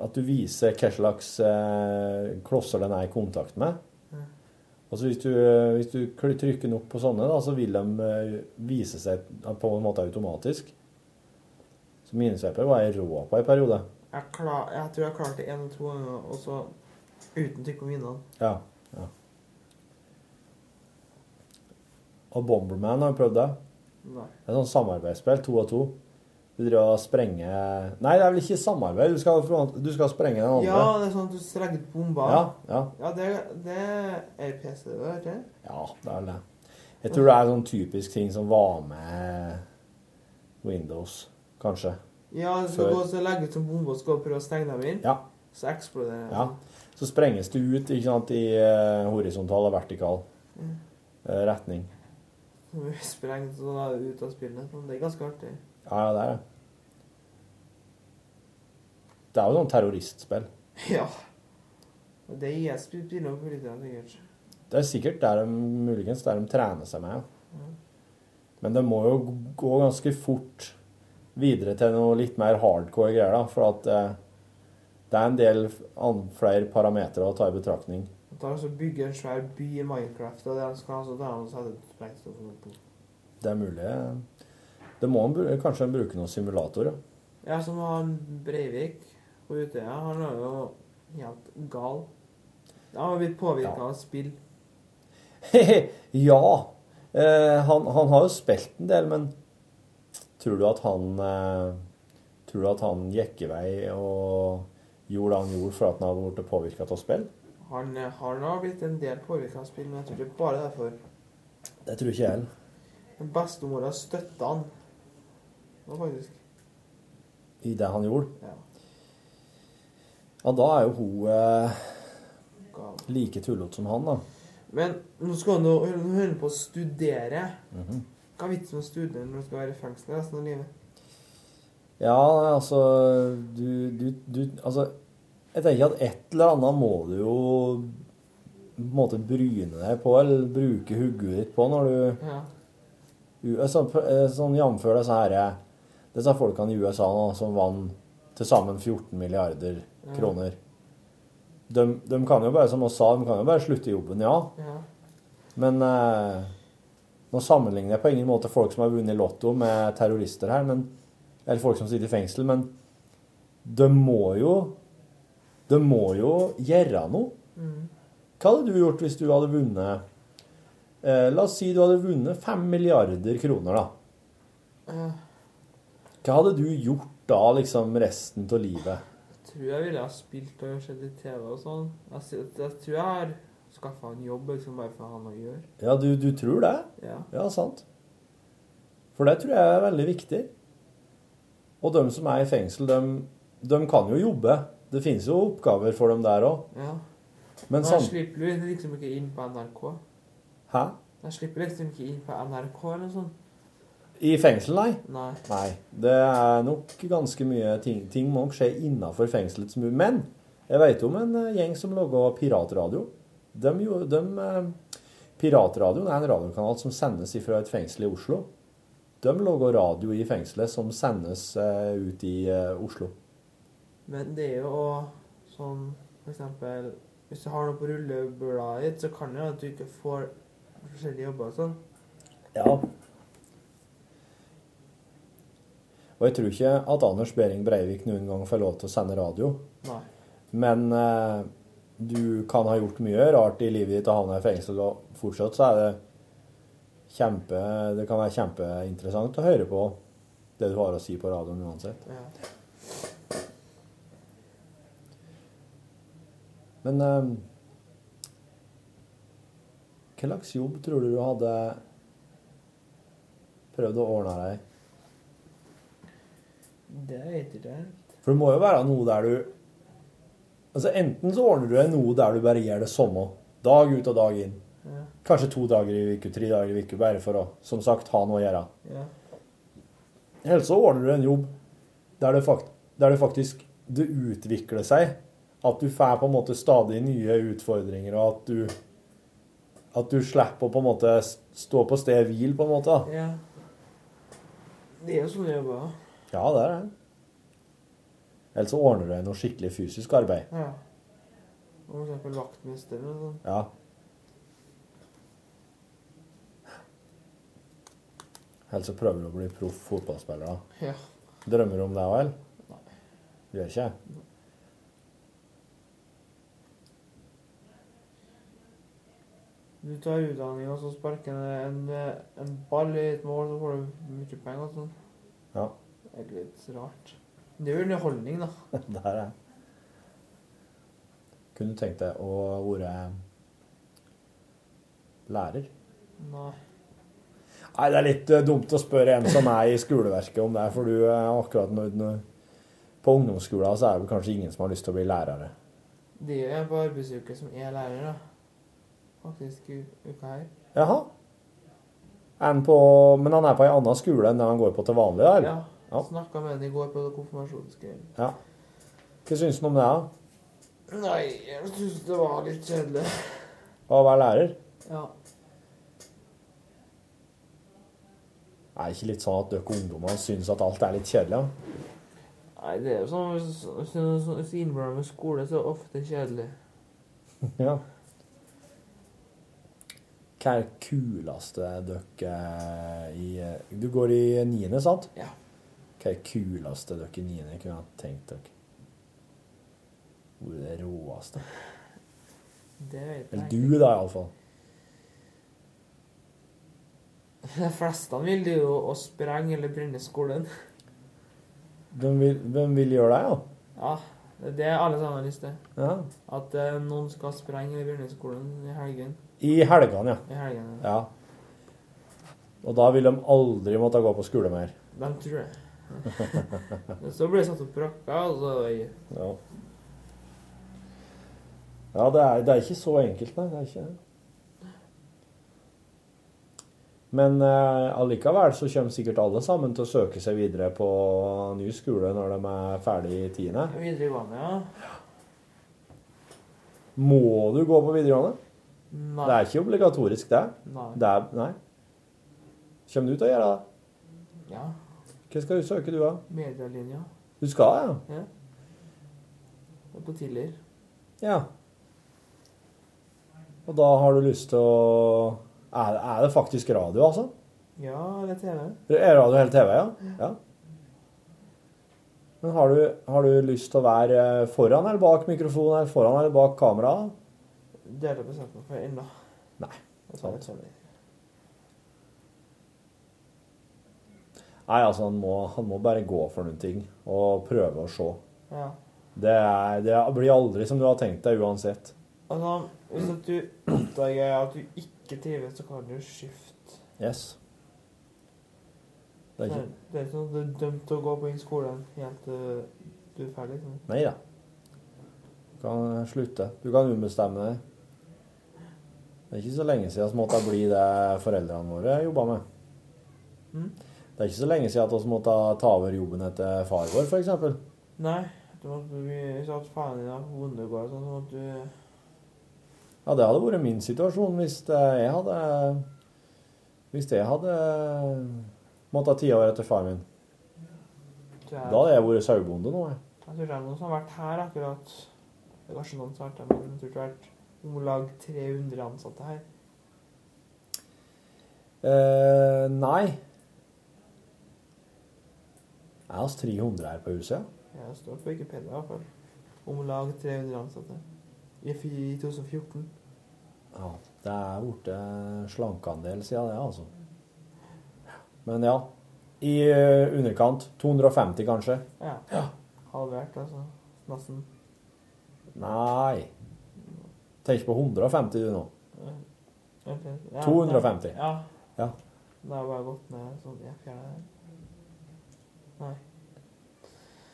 at du viser hva slags eh, klosser den er i kontakt med.
Ja.
Altså hvis du, hvis du kl- trykker nok på sånne, da, så vil de eh, vise seg på en måte automatisk. Så minesveiper var jeg rå på i periode.
Jeg, klar, jeg tror jeg klarte én eller to ganger, og så uten trykk på minene.
Ja. ja. Og Bomberman har jo prøvd det.
Nei.
Det er sånn samarbeidsspill, to og to. Du driver og sprenger Nei, det er vel ikke samarbeid, du skal, du skal sprenge den
Ja,
andre.
det er sånn at du strenger ut bomber.
Ja, ja.
Ja, det, det er PC, det der, ikke?
Ja, det er vel det. Jeg tror det er sånn typisk ting som var med Windows, kanskje.
Ja, du skal
Før.
gå og så legge ut som bombe og så skal du prøve å stenge dem inn.
Ja.
Så eksploderer det.
Ja. Så sprenges det ut ikke sant, i eh, horisontal og vertikal
Mm.
eh, retning.
Så blir det Sprengt og da er du ute av spillet. Men det er ganske artig.
Ja, ja, det er det. Det er jo sånn terroristspill.
Ja. Og Det er IS spiller på litt, sikkert.
Det er sikkert der de, muligens der de trener seg med. Ja.
Mhm.
Men det må jo gå ganske fort videre til noe litt mer hardcore greier, da. For at eh, det er en del an, flere parametere å ta i betraktning.
Man tar altså bygger en svær by i Minecraft, og det han skal ha, så tar han og setter et sprengstoff på.
Det er mulig eh, Det må en, bru- kanskje en bruke noen simulatorer.
Ja, som han Breivik på Utøya, han er jo helt gal. Han har blitt påvirket av spill.
ja! Eh, han, han har jo spilt en del, men tror du at han eh, Tror du at han gikk i vei og gjorde det han gjorde for at han hadde blitt påvirka av spill?
Han eh, han har blitt en del påvirket av spill, men jeg tror ikke bare derfor.
Det tror ikke jeg heller.
Men bestemora støtta han. Det var faktisk
I det han gjorde?
Ja.
Ja, da er jo hun eh,
gal.
like tullete som han, da.
Men nå skal han jo hun holder på å studere.
Mhm.
Hva er vitsen med å studere når du skal være i fengsel resten av livet?
Ja, altså du, du, du Altså, jeg tenker at et eller annet må du jo på en måte bryne deg på, eller bruke hodet ditt på når du
Ja.
U- altså, p- eh, Sånn jamfør disse her eh, Disse folkene i USA nå som vant til sammen 14 milliarder
Ja.
kroner. De, de kan jo bare, som oss sa, de kan jo bare slutte i jobben, ja.
Ja.
Men eh, nå sammenligner jeg på ingen måte folk som har vunnet lotto med terrorister her, men, eller folk som sitter i fengsel, men de må jo de må jo gjøre noe.
Mhm.
Hva hadde du gjort hvis du hadde vunnet eh, La oss si du hadde vunnet 5 milliarder kroner, da.
Eh,
Hva hadde du gjort da, liksom, resten av livet?
Jeg tror jeg ville ha spilt og sett litt TV og sånn. Jeg, sy- jeg tror jeg har skaffa en jobb liksom bare for å ha noe å gjøre.
Ja, du, du tror det?
Ja.
sant. For det tror jeg er veldig viktig. Og de som er i fengsel, de, de kan jo jobbe. Det finnes jo oppgaver for dem der òg.
Ja.
Men
jeg
sånn
slipper jo liksom ikke inn på NRK.
Hæ?
Jeg slipper liksom ikke inn på NRK eller noe sånt.
I fengsel, nei?
Nei.
Nei. Det er nok ganske mye ting Ting må nok skje innafor fengselets mur. Men Jeg vet om en eh, gjeng som lager piratradio. De, gjorde- de, eh, piratradioen er en radiokanal som sendes fra et fengsel i Oslo. De lager radio i fengselet som sendes eh, ut i eh, Oslo.
Men det er jo også sånn for eksempel Hvis du har noe på rullebladet ditt, så kan det jo at du ikke får forskjellige jobber og sånn.
Ja. Og jeg tror ikke at Anders Behring Breivik noen gang får lov til å sende radio.
Nei.
Men eh, du kan ha gjort mye rart i livet ditt og havna i fengsel, og fortsatt så er det kjempe Det kan være kjempeinteressant å høre på det du har å si på radioen uansett.
Ja.
Men eh, hva slags jobb tror du du hadde prøvd å ordne deg?
Det vet ikke jeg.
For det må jo være noe der du Altså Enten så ordner du deg noe der du bare gjør det samme, dag ut og dag inn.
Ja.
Kanskje to dager i uke, tre dager i uke, bare for å som sagt, ha noe å gjøre.
Ja.
Eller så ordner du en jobb der det, fakt der det faktisk det utvikler seg. At du får på en måte stadig nye utfordringer, og at du, at du slipper å på en måte stå på stedet hvil, på en måte. da.
ja. Det er jo sånne jobber.
Ja, det er det. Eller så ordner du deg noe skikkelig fysisk arbeid.
Ja. Og For eksempel vaktmester og sånn.
Ja. Eller så prøver du å bli proff fotballspiller, da.
Ja.
Drømmer du om det òg, eller? Du gjør ikke det?
Du tar utdanning, og så sparker en, en, en ball i et mål, så får du mye penger og sånn.
Ja.
Det er litt rart. Men Det er jo underholdning, da.
Det her er Kunne du tenkt deg å være lærer?
Nei.
Nei, det er litt eh, dumt å spørre en som er i skoleverket om det, for du eh, akkurat nå nå- På ungdomsskolen så er det vel kanskje ingen som har lyst til å bli lærere.
Det er en på arbeidsuke som er lærer, da. Faktisk u- uka her.
Jaha. Er han på Men han er på ei anna skole enn den han går på til vanlig, da? eller?
Ja. Snakka med henne i går på konfirmasjonsgreien.
Ja. Hva syns han om det, da?
Nei, jeg syns det var litt kjedelig.
Å være lærer?
Ja.
Er det ikke litt sånn at dere ungdommer syns at alt er litt kjedelig? da?
Nei, det er jo sånn hvis- hvis hvis- hvis du innblander med skole, så er det ofte kjedelig.
Ja. Hva er det kuleste dere i Du går i niende, sant?
Ja.
Hva er det kuleste dere i niende kunne ha tenkt dere? Hvor er det råeste?
Det vet
Eller
jeg.
du, da, iallfall.
De fleste vil det jo å sprenge eller brenne skolen.
Hvem, vil- hvem vil gjøre det, da?
Ja, det er det alle sammen har lyst til.
Ja.
At eh, noen skal sprenge eller brenne skolen i helgen.
I helgene, ja.
I helgene.
ja. Og da vil de aldri måtte gå på skole mer.
De tror det. Men Så blir det satt opp brakker, og så
Ja, ja det, er, det er ikke så enkelt, nei. Det er ikke det. Men eh, allikevel så kommer sikkert alle sammen til å søke seg videre på ny skole når de er ferdig i tiende.
Videregående, ja.
Må du gå på videregående?
Nei.
Det er ikke obligatorisk, det.
Nei.
det er, nei. Kommer du til å gjøre det?
Ja.
Hva skal du søke, du, da?
Medielinja.
Du skal, ja?
Ja. Og på Tiller.
Ja. Og da har du lyst til å Er, er det faktisk radio, altså?
Ja, eller TV.
Er radio hele TV, ja? ja. Men har du, har du lyst til å være eh, foran eller bak mikrofonen, eller foran eller bak kamera?
Det har jeg bestemt meg for ennå.
Nei.
Jeg tar
Sant.
det selv.
Nei, altså, han må, han må bare gå for noen ting og prøve å se.
Ja.
Det, er, det blir aldri som du har tenkt deg, uansett.
Altså, hvis at du oppdager at du ikke trives, så kan du skifte.
Yes. Det
Det
er
er
ikke
det er ikke sånn at du er dømt til å gå på den skolen helt til du er ferdig. Sånn.
Nei da. Du kan slutte. Du kan umbestemme deg. Det er ikke så lenge siden vi måtte bli det foreldrene våre jobba med.
Mm.
Det er ikke så lenge siden at vi måtte ta over jobben etter far vår, f.eks.
Nei, Du måtte bli satt faen i deg på bondegården sånn at du
Ja, det hadde vært min situasjon hvis det- jeg hadde Hvis jeg hadde måttet ha ti år etter faren min. Da hadde jeg vært sauebonde nå, jeg.
Jeg tror det er noen som har vært her akkurat. Det er kanskje noen som har vært her, men jeg tror det har vært om lag 300 ansatte her.
Eh, nei. Det er oss 300 her på huset, ja.
Jeg står på Wikipedia i hvert fall. Om lag 300 ansatte. I fi- 2014.
ja. Det er blitt slankeandel siden det, altså. Men ja. I eh, underkant. 250, kanskje.
Ja. Halvert, altså. Nesten.
Nei. Tenk på 150 du nå.
Ja. Vent litt. Ja,
250.
nei. Ja.
Ja.
Da har jeg bare gått ned sånn. Jeg fjerner det. Nei.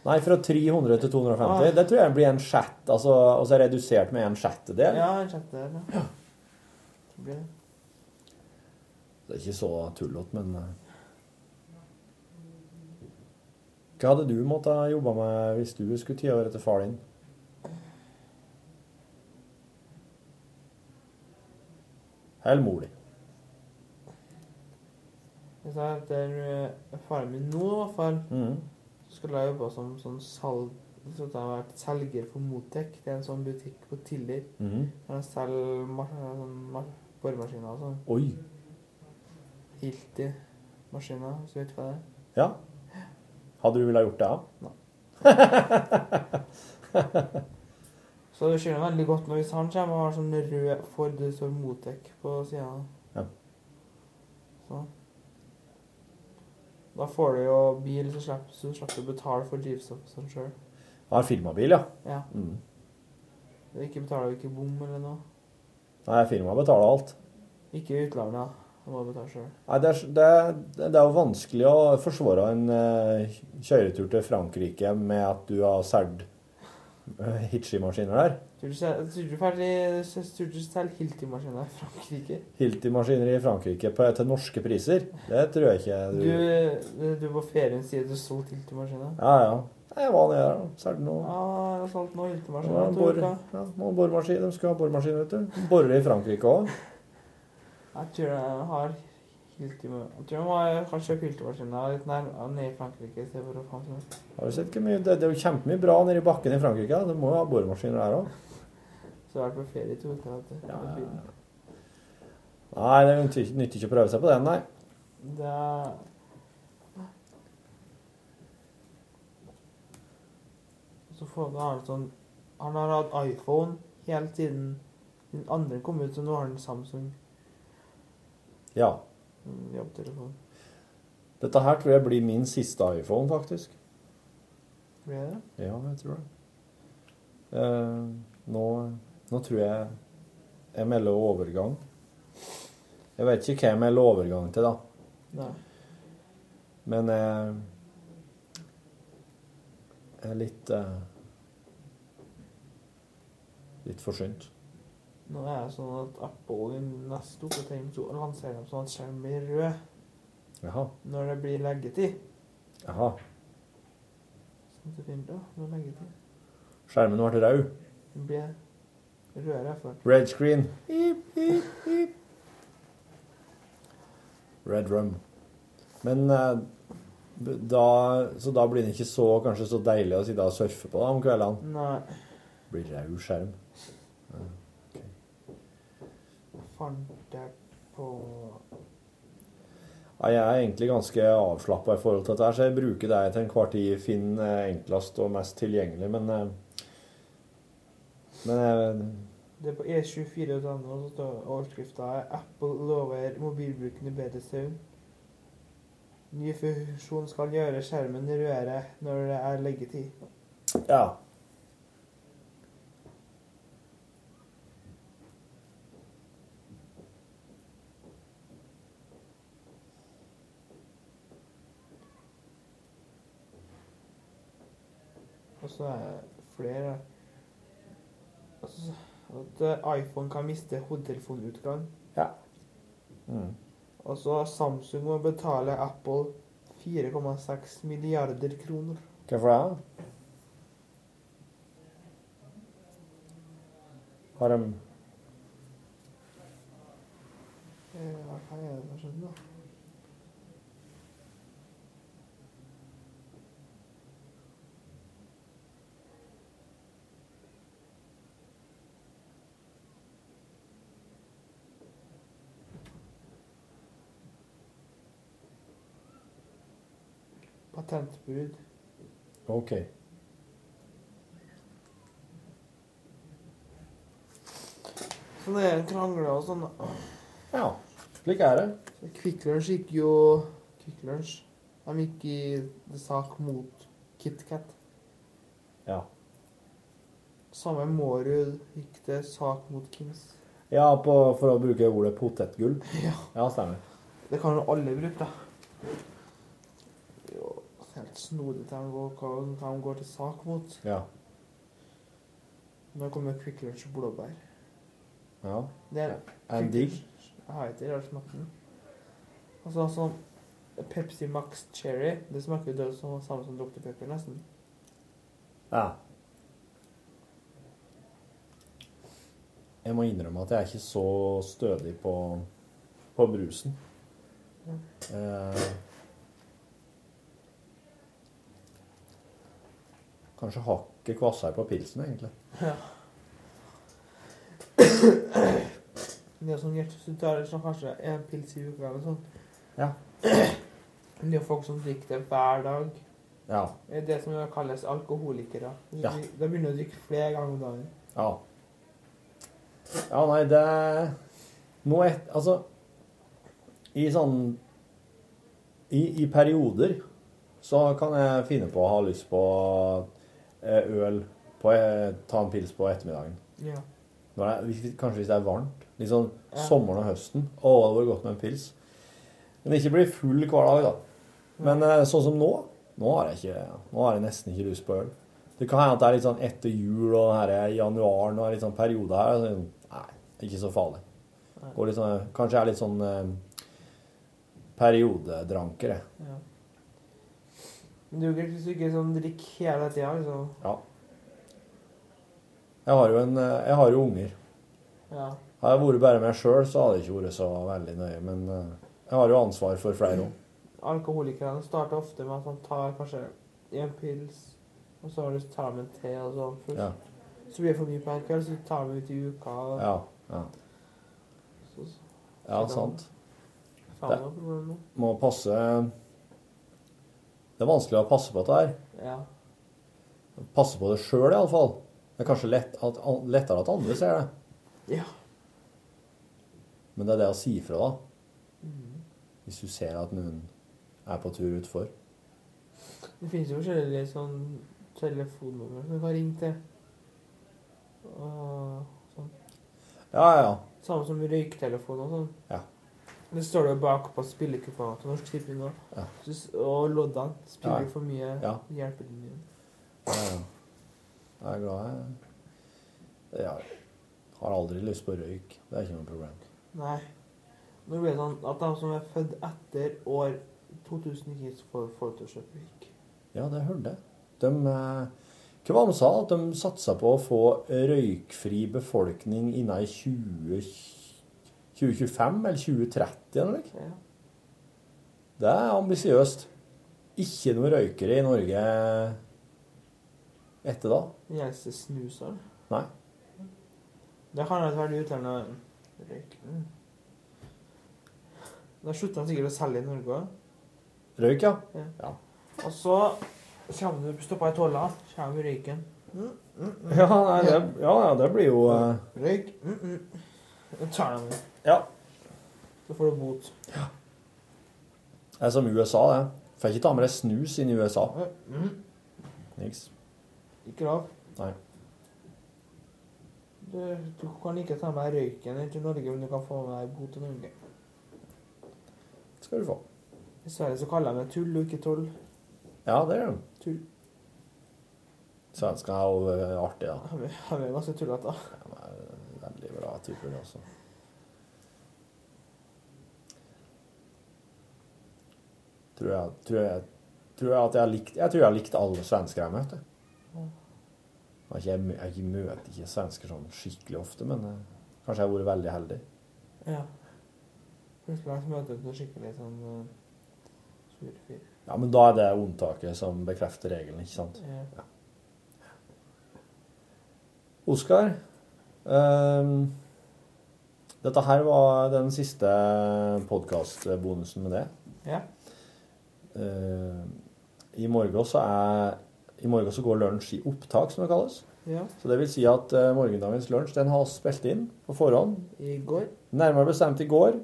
Nei, fra 300 til 250.
Ah.
Det tror jeg blir en sjett, altså, og så redusert med en sjettedel.
Ja, en sjette. Ja. Det blir det.
Det er ikke så tullete, men eh. Hva hadde du måttet ha jobba med hvis du skulle ti år etter far din? Eller mor di?
Hvis jeg heter eh, faren min nå, i hvert fall,
Mhm.
så skulle jeg jobbe som sånn salg... Så hadde jeg vært selger for Motec. Det er en sånn butikk på Tiller.
Mhm.
Der de selger ma- sånn ma- boremaskiner og sånn.
Oi.
Hilti-maskiner, hvis du vet hva det er.
Ja. Hadde du villet ha gjort det?
Nei. Så det skjer veldig godt når hvis han kommer og har sånn rød Ford det står Motec på sida.
Ja.
Så. Da får du jo bil, så slipper, så slipper du å betale for drivstoffet sånn sjøl.
Har firmabil, ja.
Ja.
Mhm.
Ikke betaler du ikke bom eller noe.
Nei, firmaet betaler alt.
Ikke i utlandet. Du må betale sjøl.
Nei, det er, s- det, er, det er jo vanskelig å forsvare en eh, kjøretur til Frankrike med at du har solgt uh, Hitchi-maskiner der.
Tror du sel- tror du ferdig Tror du selger Hilti-maskiner i Frankrike?
Hilti-maskiner i Frankrike på, til norske priser. Det tror jeg ikke
Du,
du
du på ferien sier du solgte Hilti-maskiner?
Ja, ja. Nei, Jeg var nede der, da. Solgte noe.
Ja, jeg har solgt noen
Det var
Hilti-maskiner.
en
to
bor-
uker.
ja, noen boremaskin. De skulle ha boremaskin, vet du. Borer i Frankrike òg.
Jeg tror jeg har Hiltima. Jeg tror jeg må kanskje kjøpe Hiltima-maskinen litt nærmere ned i Frankrike. i stedet for å faen meg.
Har du sett hvor mye Det, det er jo kjempemye bra nede i bakken i Frankrike. da. Du må jo ha boremaskiner der òg.
Så jeg har vært på ferie i to uker. vet du. Det er fint.
Nei, det nytter ikke- nytter ikke å prøve seg på den, nei.
Det er... Så får han har han sånn... Han har hatt iPhone hele tiden. Den andre kom ut, så nå har han Samsung
Ja.
mm, jobbtelefon.
Dette her tror jeg blir min siste iPhone, faktisk.
Blir det det?
Ja, jeg tror det. Eh, nå, nå tror jeg jeg melder overgang. Jeg vet ikke hva jeg melder overgang til, da.
Nei.
Men jeg jeg er litt eh, Litt forsynt.
Nå er det sånn at Apple i neste oppdatering så lanserer de sånn at skjermen blir rød
Jaha.
når det blir leggetid.
Jaha.
Sånn at du finner det, når leggetid.
Skjermen ble rød.
Den blir rødere for
Red screen.
Pip, pip, pip.
Red rum. Men eh, b- da, så da blir det ikke så, kanskje så deilig å sitte og surfe på da, om kveldene.
Nei.
Blir rød skjerm. Ja.
Fant jeg på
Ja, Jeg er egentlig ganske avslappa i forhold til dette, her, så jeg bruker det jeg til enhver tid finner eh, enklest og mest tilgjengelig, men eh, Men eh,
Det er på E e24.no sånn, så står overskrifta er 'Apple lover mobilbrukende bedre søvn'. Ny funksjon skal gjøre skjermen rødere når det er leggetid.
eh, ja.
Og så er det flere altså, At eh, iPhone kan miste hodetelefonutgang.
Ja. Mm.
Og så Samsung må betale Apple 4,6 milliarder kroner.
Hvorfor det? Har de
Eh, Hva faen er det som skjedde, da? Patentbrudd.
OK.
Så det er krangler og sånn, da.
Ja. Slik er det.
Så Quick Lunch gikk jo Quick Lunch De gikk i sak mot KitKat.
Ja.
Samme Mårud gikk det sak mot Kims.
Ja, på, for å bruke ordet potetgull.
Ja.
ja, stemmer.
Det kan jo alle bruke, da. Jo, helt snodig de går, hva de går til sak mot.
Ja.
Nå kommer Quick Lunch og blåbær.
ja.
Det er
Er den digg?
Jeg har ikke rart smaken. Altså, sånn Pepsi Max Cherry, det smaker jo død som samme som Dr. Pepper, nesten.
Ja. Jeg må innrømme at jeg er ikke så stødig på, på brusen.
Ja.
Eh, kanskje hakket kvassere på pilsen, egentlig.
Ja. Det er sånn hjerte, så du tar sånn, kanskje en pils i uka eller sånn.
Ja.
Men det er jo folk som drikker det hver dag.
Ja.
Det er det som kalles alkoholikere. De,
Ja.
de begynner å drikke flere ganger om dagen.
Ja. Ja, nei, det Nå et, Altså I sånn i, I perioder så kan jeg finne på å ha lyst på eh, øl på, eh, Ta en pils på ettermiddagen.
Ja.
Når det, er- hvis- kanskje hvis det er varmt. Litt sånn
Ja.
sommeren og høsten. Å, det hadde vært godt med en pils. Men ikke bli full hver dag, da. Men eh, sånn som nå Nå har jeg, ikke, nå har jeg nesten ikke lyst på øl. Det kan hende at det er litt sånn etter jul og den her januaren og litt sånn periode her. Så, er det sånn, nei, ikke så farlig.
Nei.
Går litt sånn, kanskje jeg er litt sånn eh, periodedranker, jeg.
Ja. Men det er jo greit hvis du ikke sånn drikker hele tida, liksom.
Ja. Jeg har jo, en, eh, jeg har jo unger.
Ja.
Hadde jeg vært bare meg sjøl, så hadde jeg ikke vært så veldig nøye. Men eh, jeg har jo ansvar for flere òg.
Alkoholikerne starter ofte med at man tar kanskje en pils, og så har du tar de en te og sånn først.
Ja.
Så blir det for mye på en kveld, så tar de ut i uka. Og
Ja, ja.
så,
ja, sant.
Faen, hva er problemet nå?
Må passe Det er vanskelig å passe på dette her.
Ja.
Passe på det sjøl, iallfall. Det er kanskje lett at, an- lettere at andre ser det.
Ja.
Men det er det å si ifra, da.
Mhm.
Hvis du ser at noen er på tur utfor.
Det finnes jo forskjellige sånn telefonnummer som du kan ringe til. Og sånn.
Ja, ja, ja.
Samme som røyktelefon og sånn.
Ja.
Det står det jo bakpå spillekuponger til Norsk Tipping òg.
Ja.
Og loddene.
Ja,
Spiller
ja.
for mye
Ja.
hjelpelinjer.
Ja, ja. Jeg er glad jeg Jeg har aldri lyst på røyk. Det er ikke noe problem.
Nei. Nå blir det sånn at de som er født etter år 2000, ikke får folk til å kjøpe røyk.
Ja, det hørte jeg. De eh, kvamsa at de satsa på å få røykfri befolkning innen i 20, 2025 eller 2030 eller noe.
Ja.
Det er ambisiøst. Ikke noe røykere i Norge etter da.
Den eneste snuseren.
Nei.
Det kan ha vært i utlandet røyk. Mm. Da slutter de sikkert å selge i Norge òg.
Røyk, ja.
Ja. Og så kommer du stoppa i tolla, kommer røyken. Mm, mm, mm.
Ja, nei, det, ja, ja, det blir jo eh,
Røyk. Mm, mm. Da tar de den.
Ja.
Så får du bot.
Det er som USA, det. Får ikke ta med deg snus inn i USA.
Mm.
Niks.
Ikke lov.
Nei.
Du, du kan ikke ta med røyken inn til Norge, men du kan få med deg bot til Norge.
Skal du få.
I Sverige så kaller de det tull og ikke tull.
Ja, det gjør de.
Tull.
Svenskene er jo eh, artige, da.
Han er han er ganske tullete. da.
Veldig bra typer, det også. Tror jeg, tror jeg, tror jeg at jeg har likt Jeg tror jeg har likt alle svensker jeg har møtt. jeg. Jeg, har ikke- jeg, jeg møter ikke svensker sånn skikkelig ofte, men eh, kanskje jeg har vært veldig heldig.
Ja. Plutselig så møter du en skikkelig sånn uh, sur fyr.
Ja, men da er det unntaket som bekrefter regelen, ikke sant?
Ja.
Oskar, ehm, dette her var den siste podkastbonusen med det.
Ja.
Eh, I morgen så er i morgen så går lunsj i opptak, som det kalles.
Ja.
Så det vil si at eh, morgendagens lunsj den har vi spilt inn på forhånd.
I går.
Nærmere bestemt i går.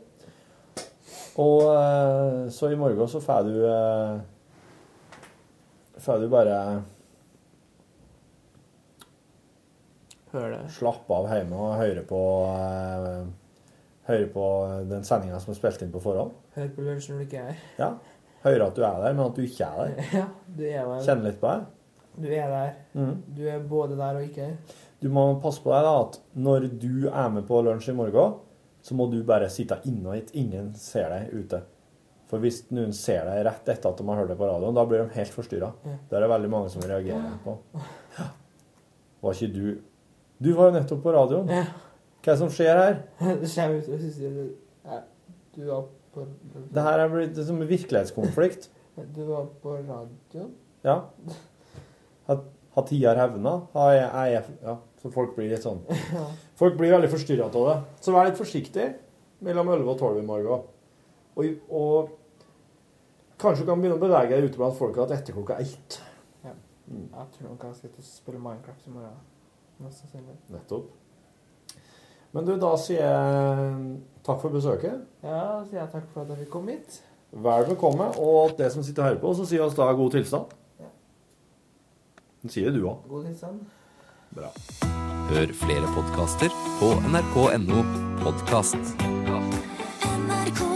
Og eh, så i morgen så får du eh, Får du bare
Hør det.
slappe av hjemme og høre på eh, Høre på den sendinga som er spilt inn på forhånd.
Hør på lunsj når du ikke er her.
Ja. Høre at du er der, men at du ikke er der.
Ja, du er der.
Kjenne litt på det.
Du er der.
Mhm.
Du er både der og ikke.
Du må passe på deg da, at når du er med på lunsj i morgen, så må du bare sitte inne og hit. Ingen ser deg ute. For hvis noen ser deg rett etter at de har hørt deg på radioen, da blir de helt forstyrra.
Ja.
Det er det veldig mange som reagerer på. Var ikke du Du var jo nettopp på radioen. Hva er det som skjer her?
det kommer ut og synes du- ja, Du var på
Det her er blitt som en virkelighetskonflikt.
Du var på radioen?
Ja. Har, har tida revna? Har jeg, er jeg Ja, så folk blir litt sånn
Ja.
Folk blir veldig forstyrra av det. Så vær litt forsiktig mellom 11 og 12 i morgen. Og, og kanskje du kan begynne å bevege deg ute blant folka at etter klokka ett.
Ja. Jeg tror nok jeg skal ut og spille Minecraft i morgen. Mest sannsynlig.
Nettopp. Men du, da sier jeg takk for besøket.
Ja, da sier jeg takk for at jeg fikk komme hit.
Vær velkommen. Og til det som sitter og hører på, så sier oss da god tilstand. Det sier du òg.
God tilstand.
Bra.
Hør flere podkaster på nrk.no podkast.
NRK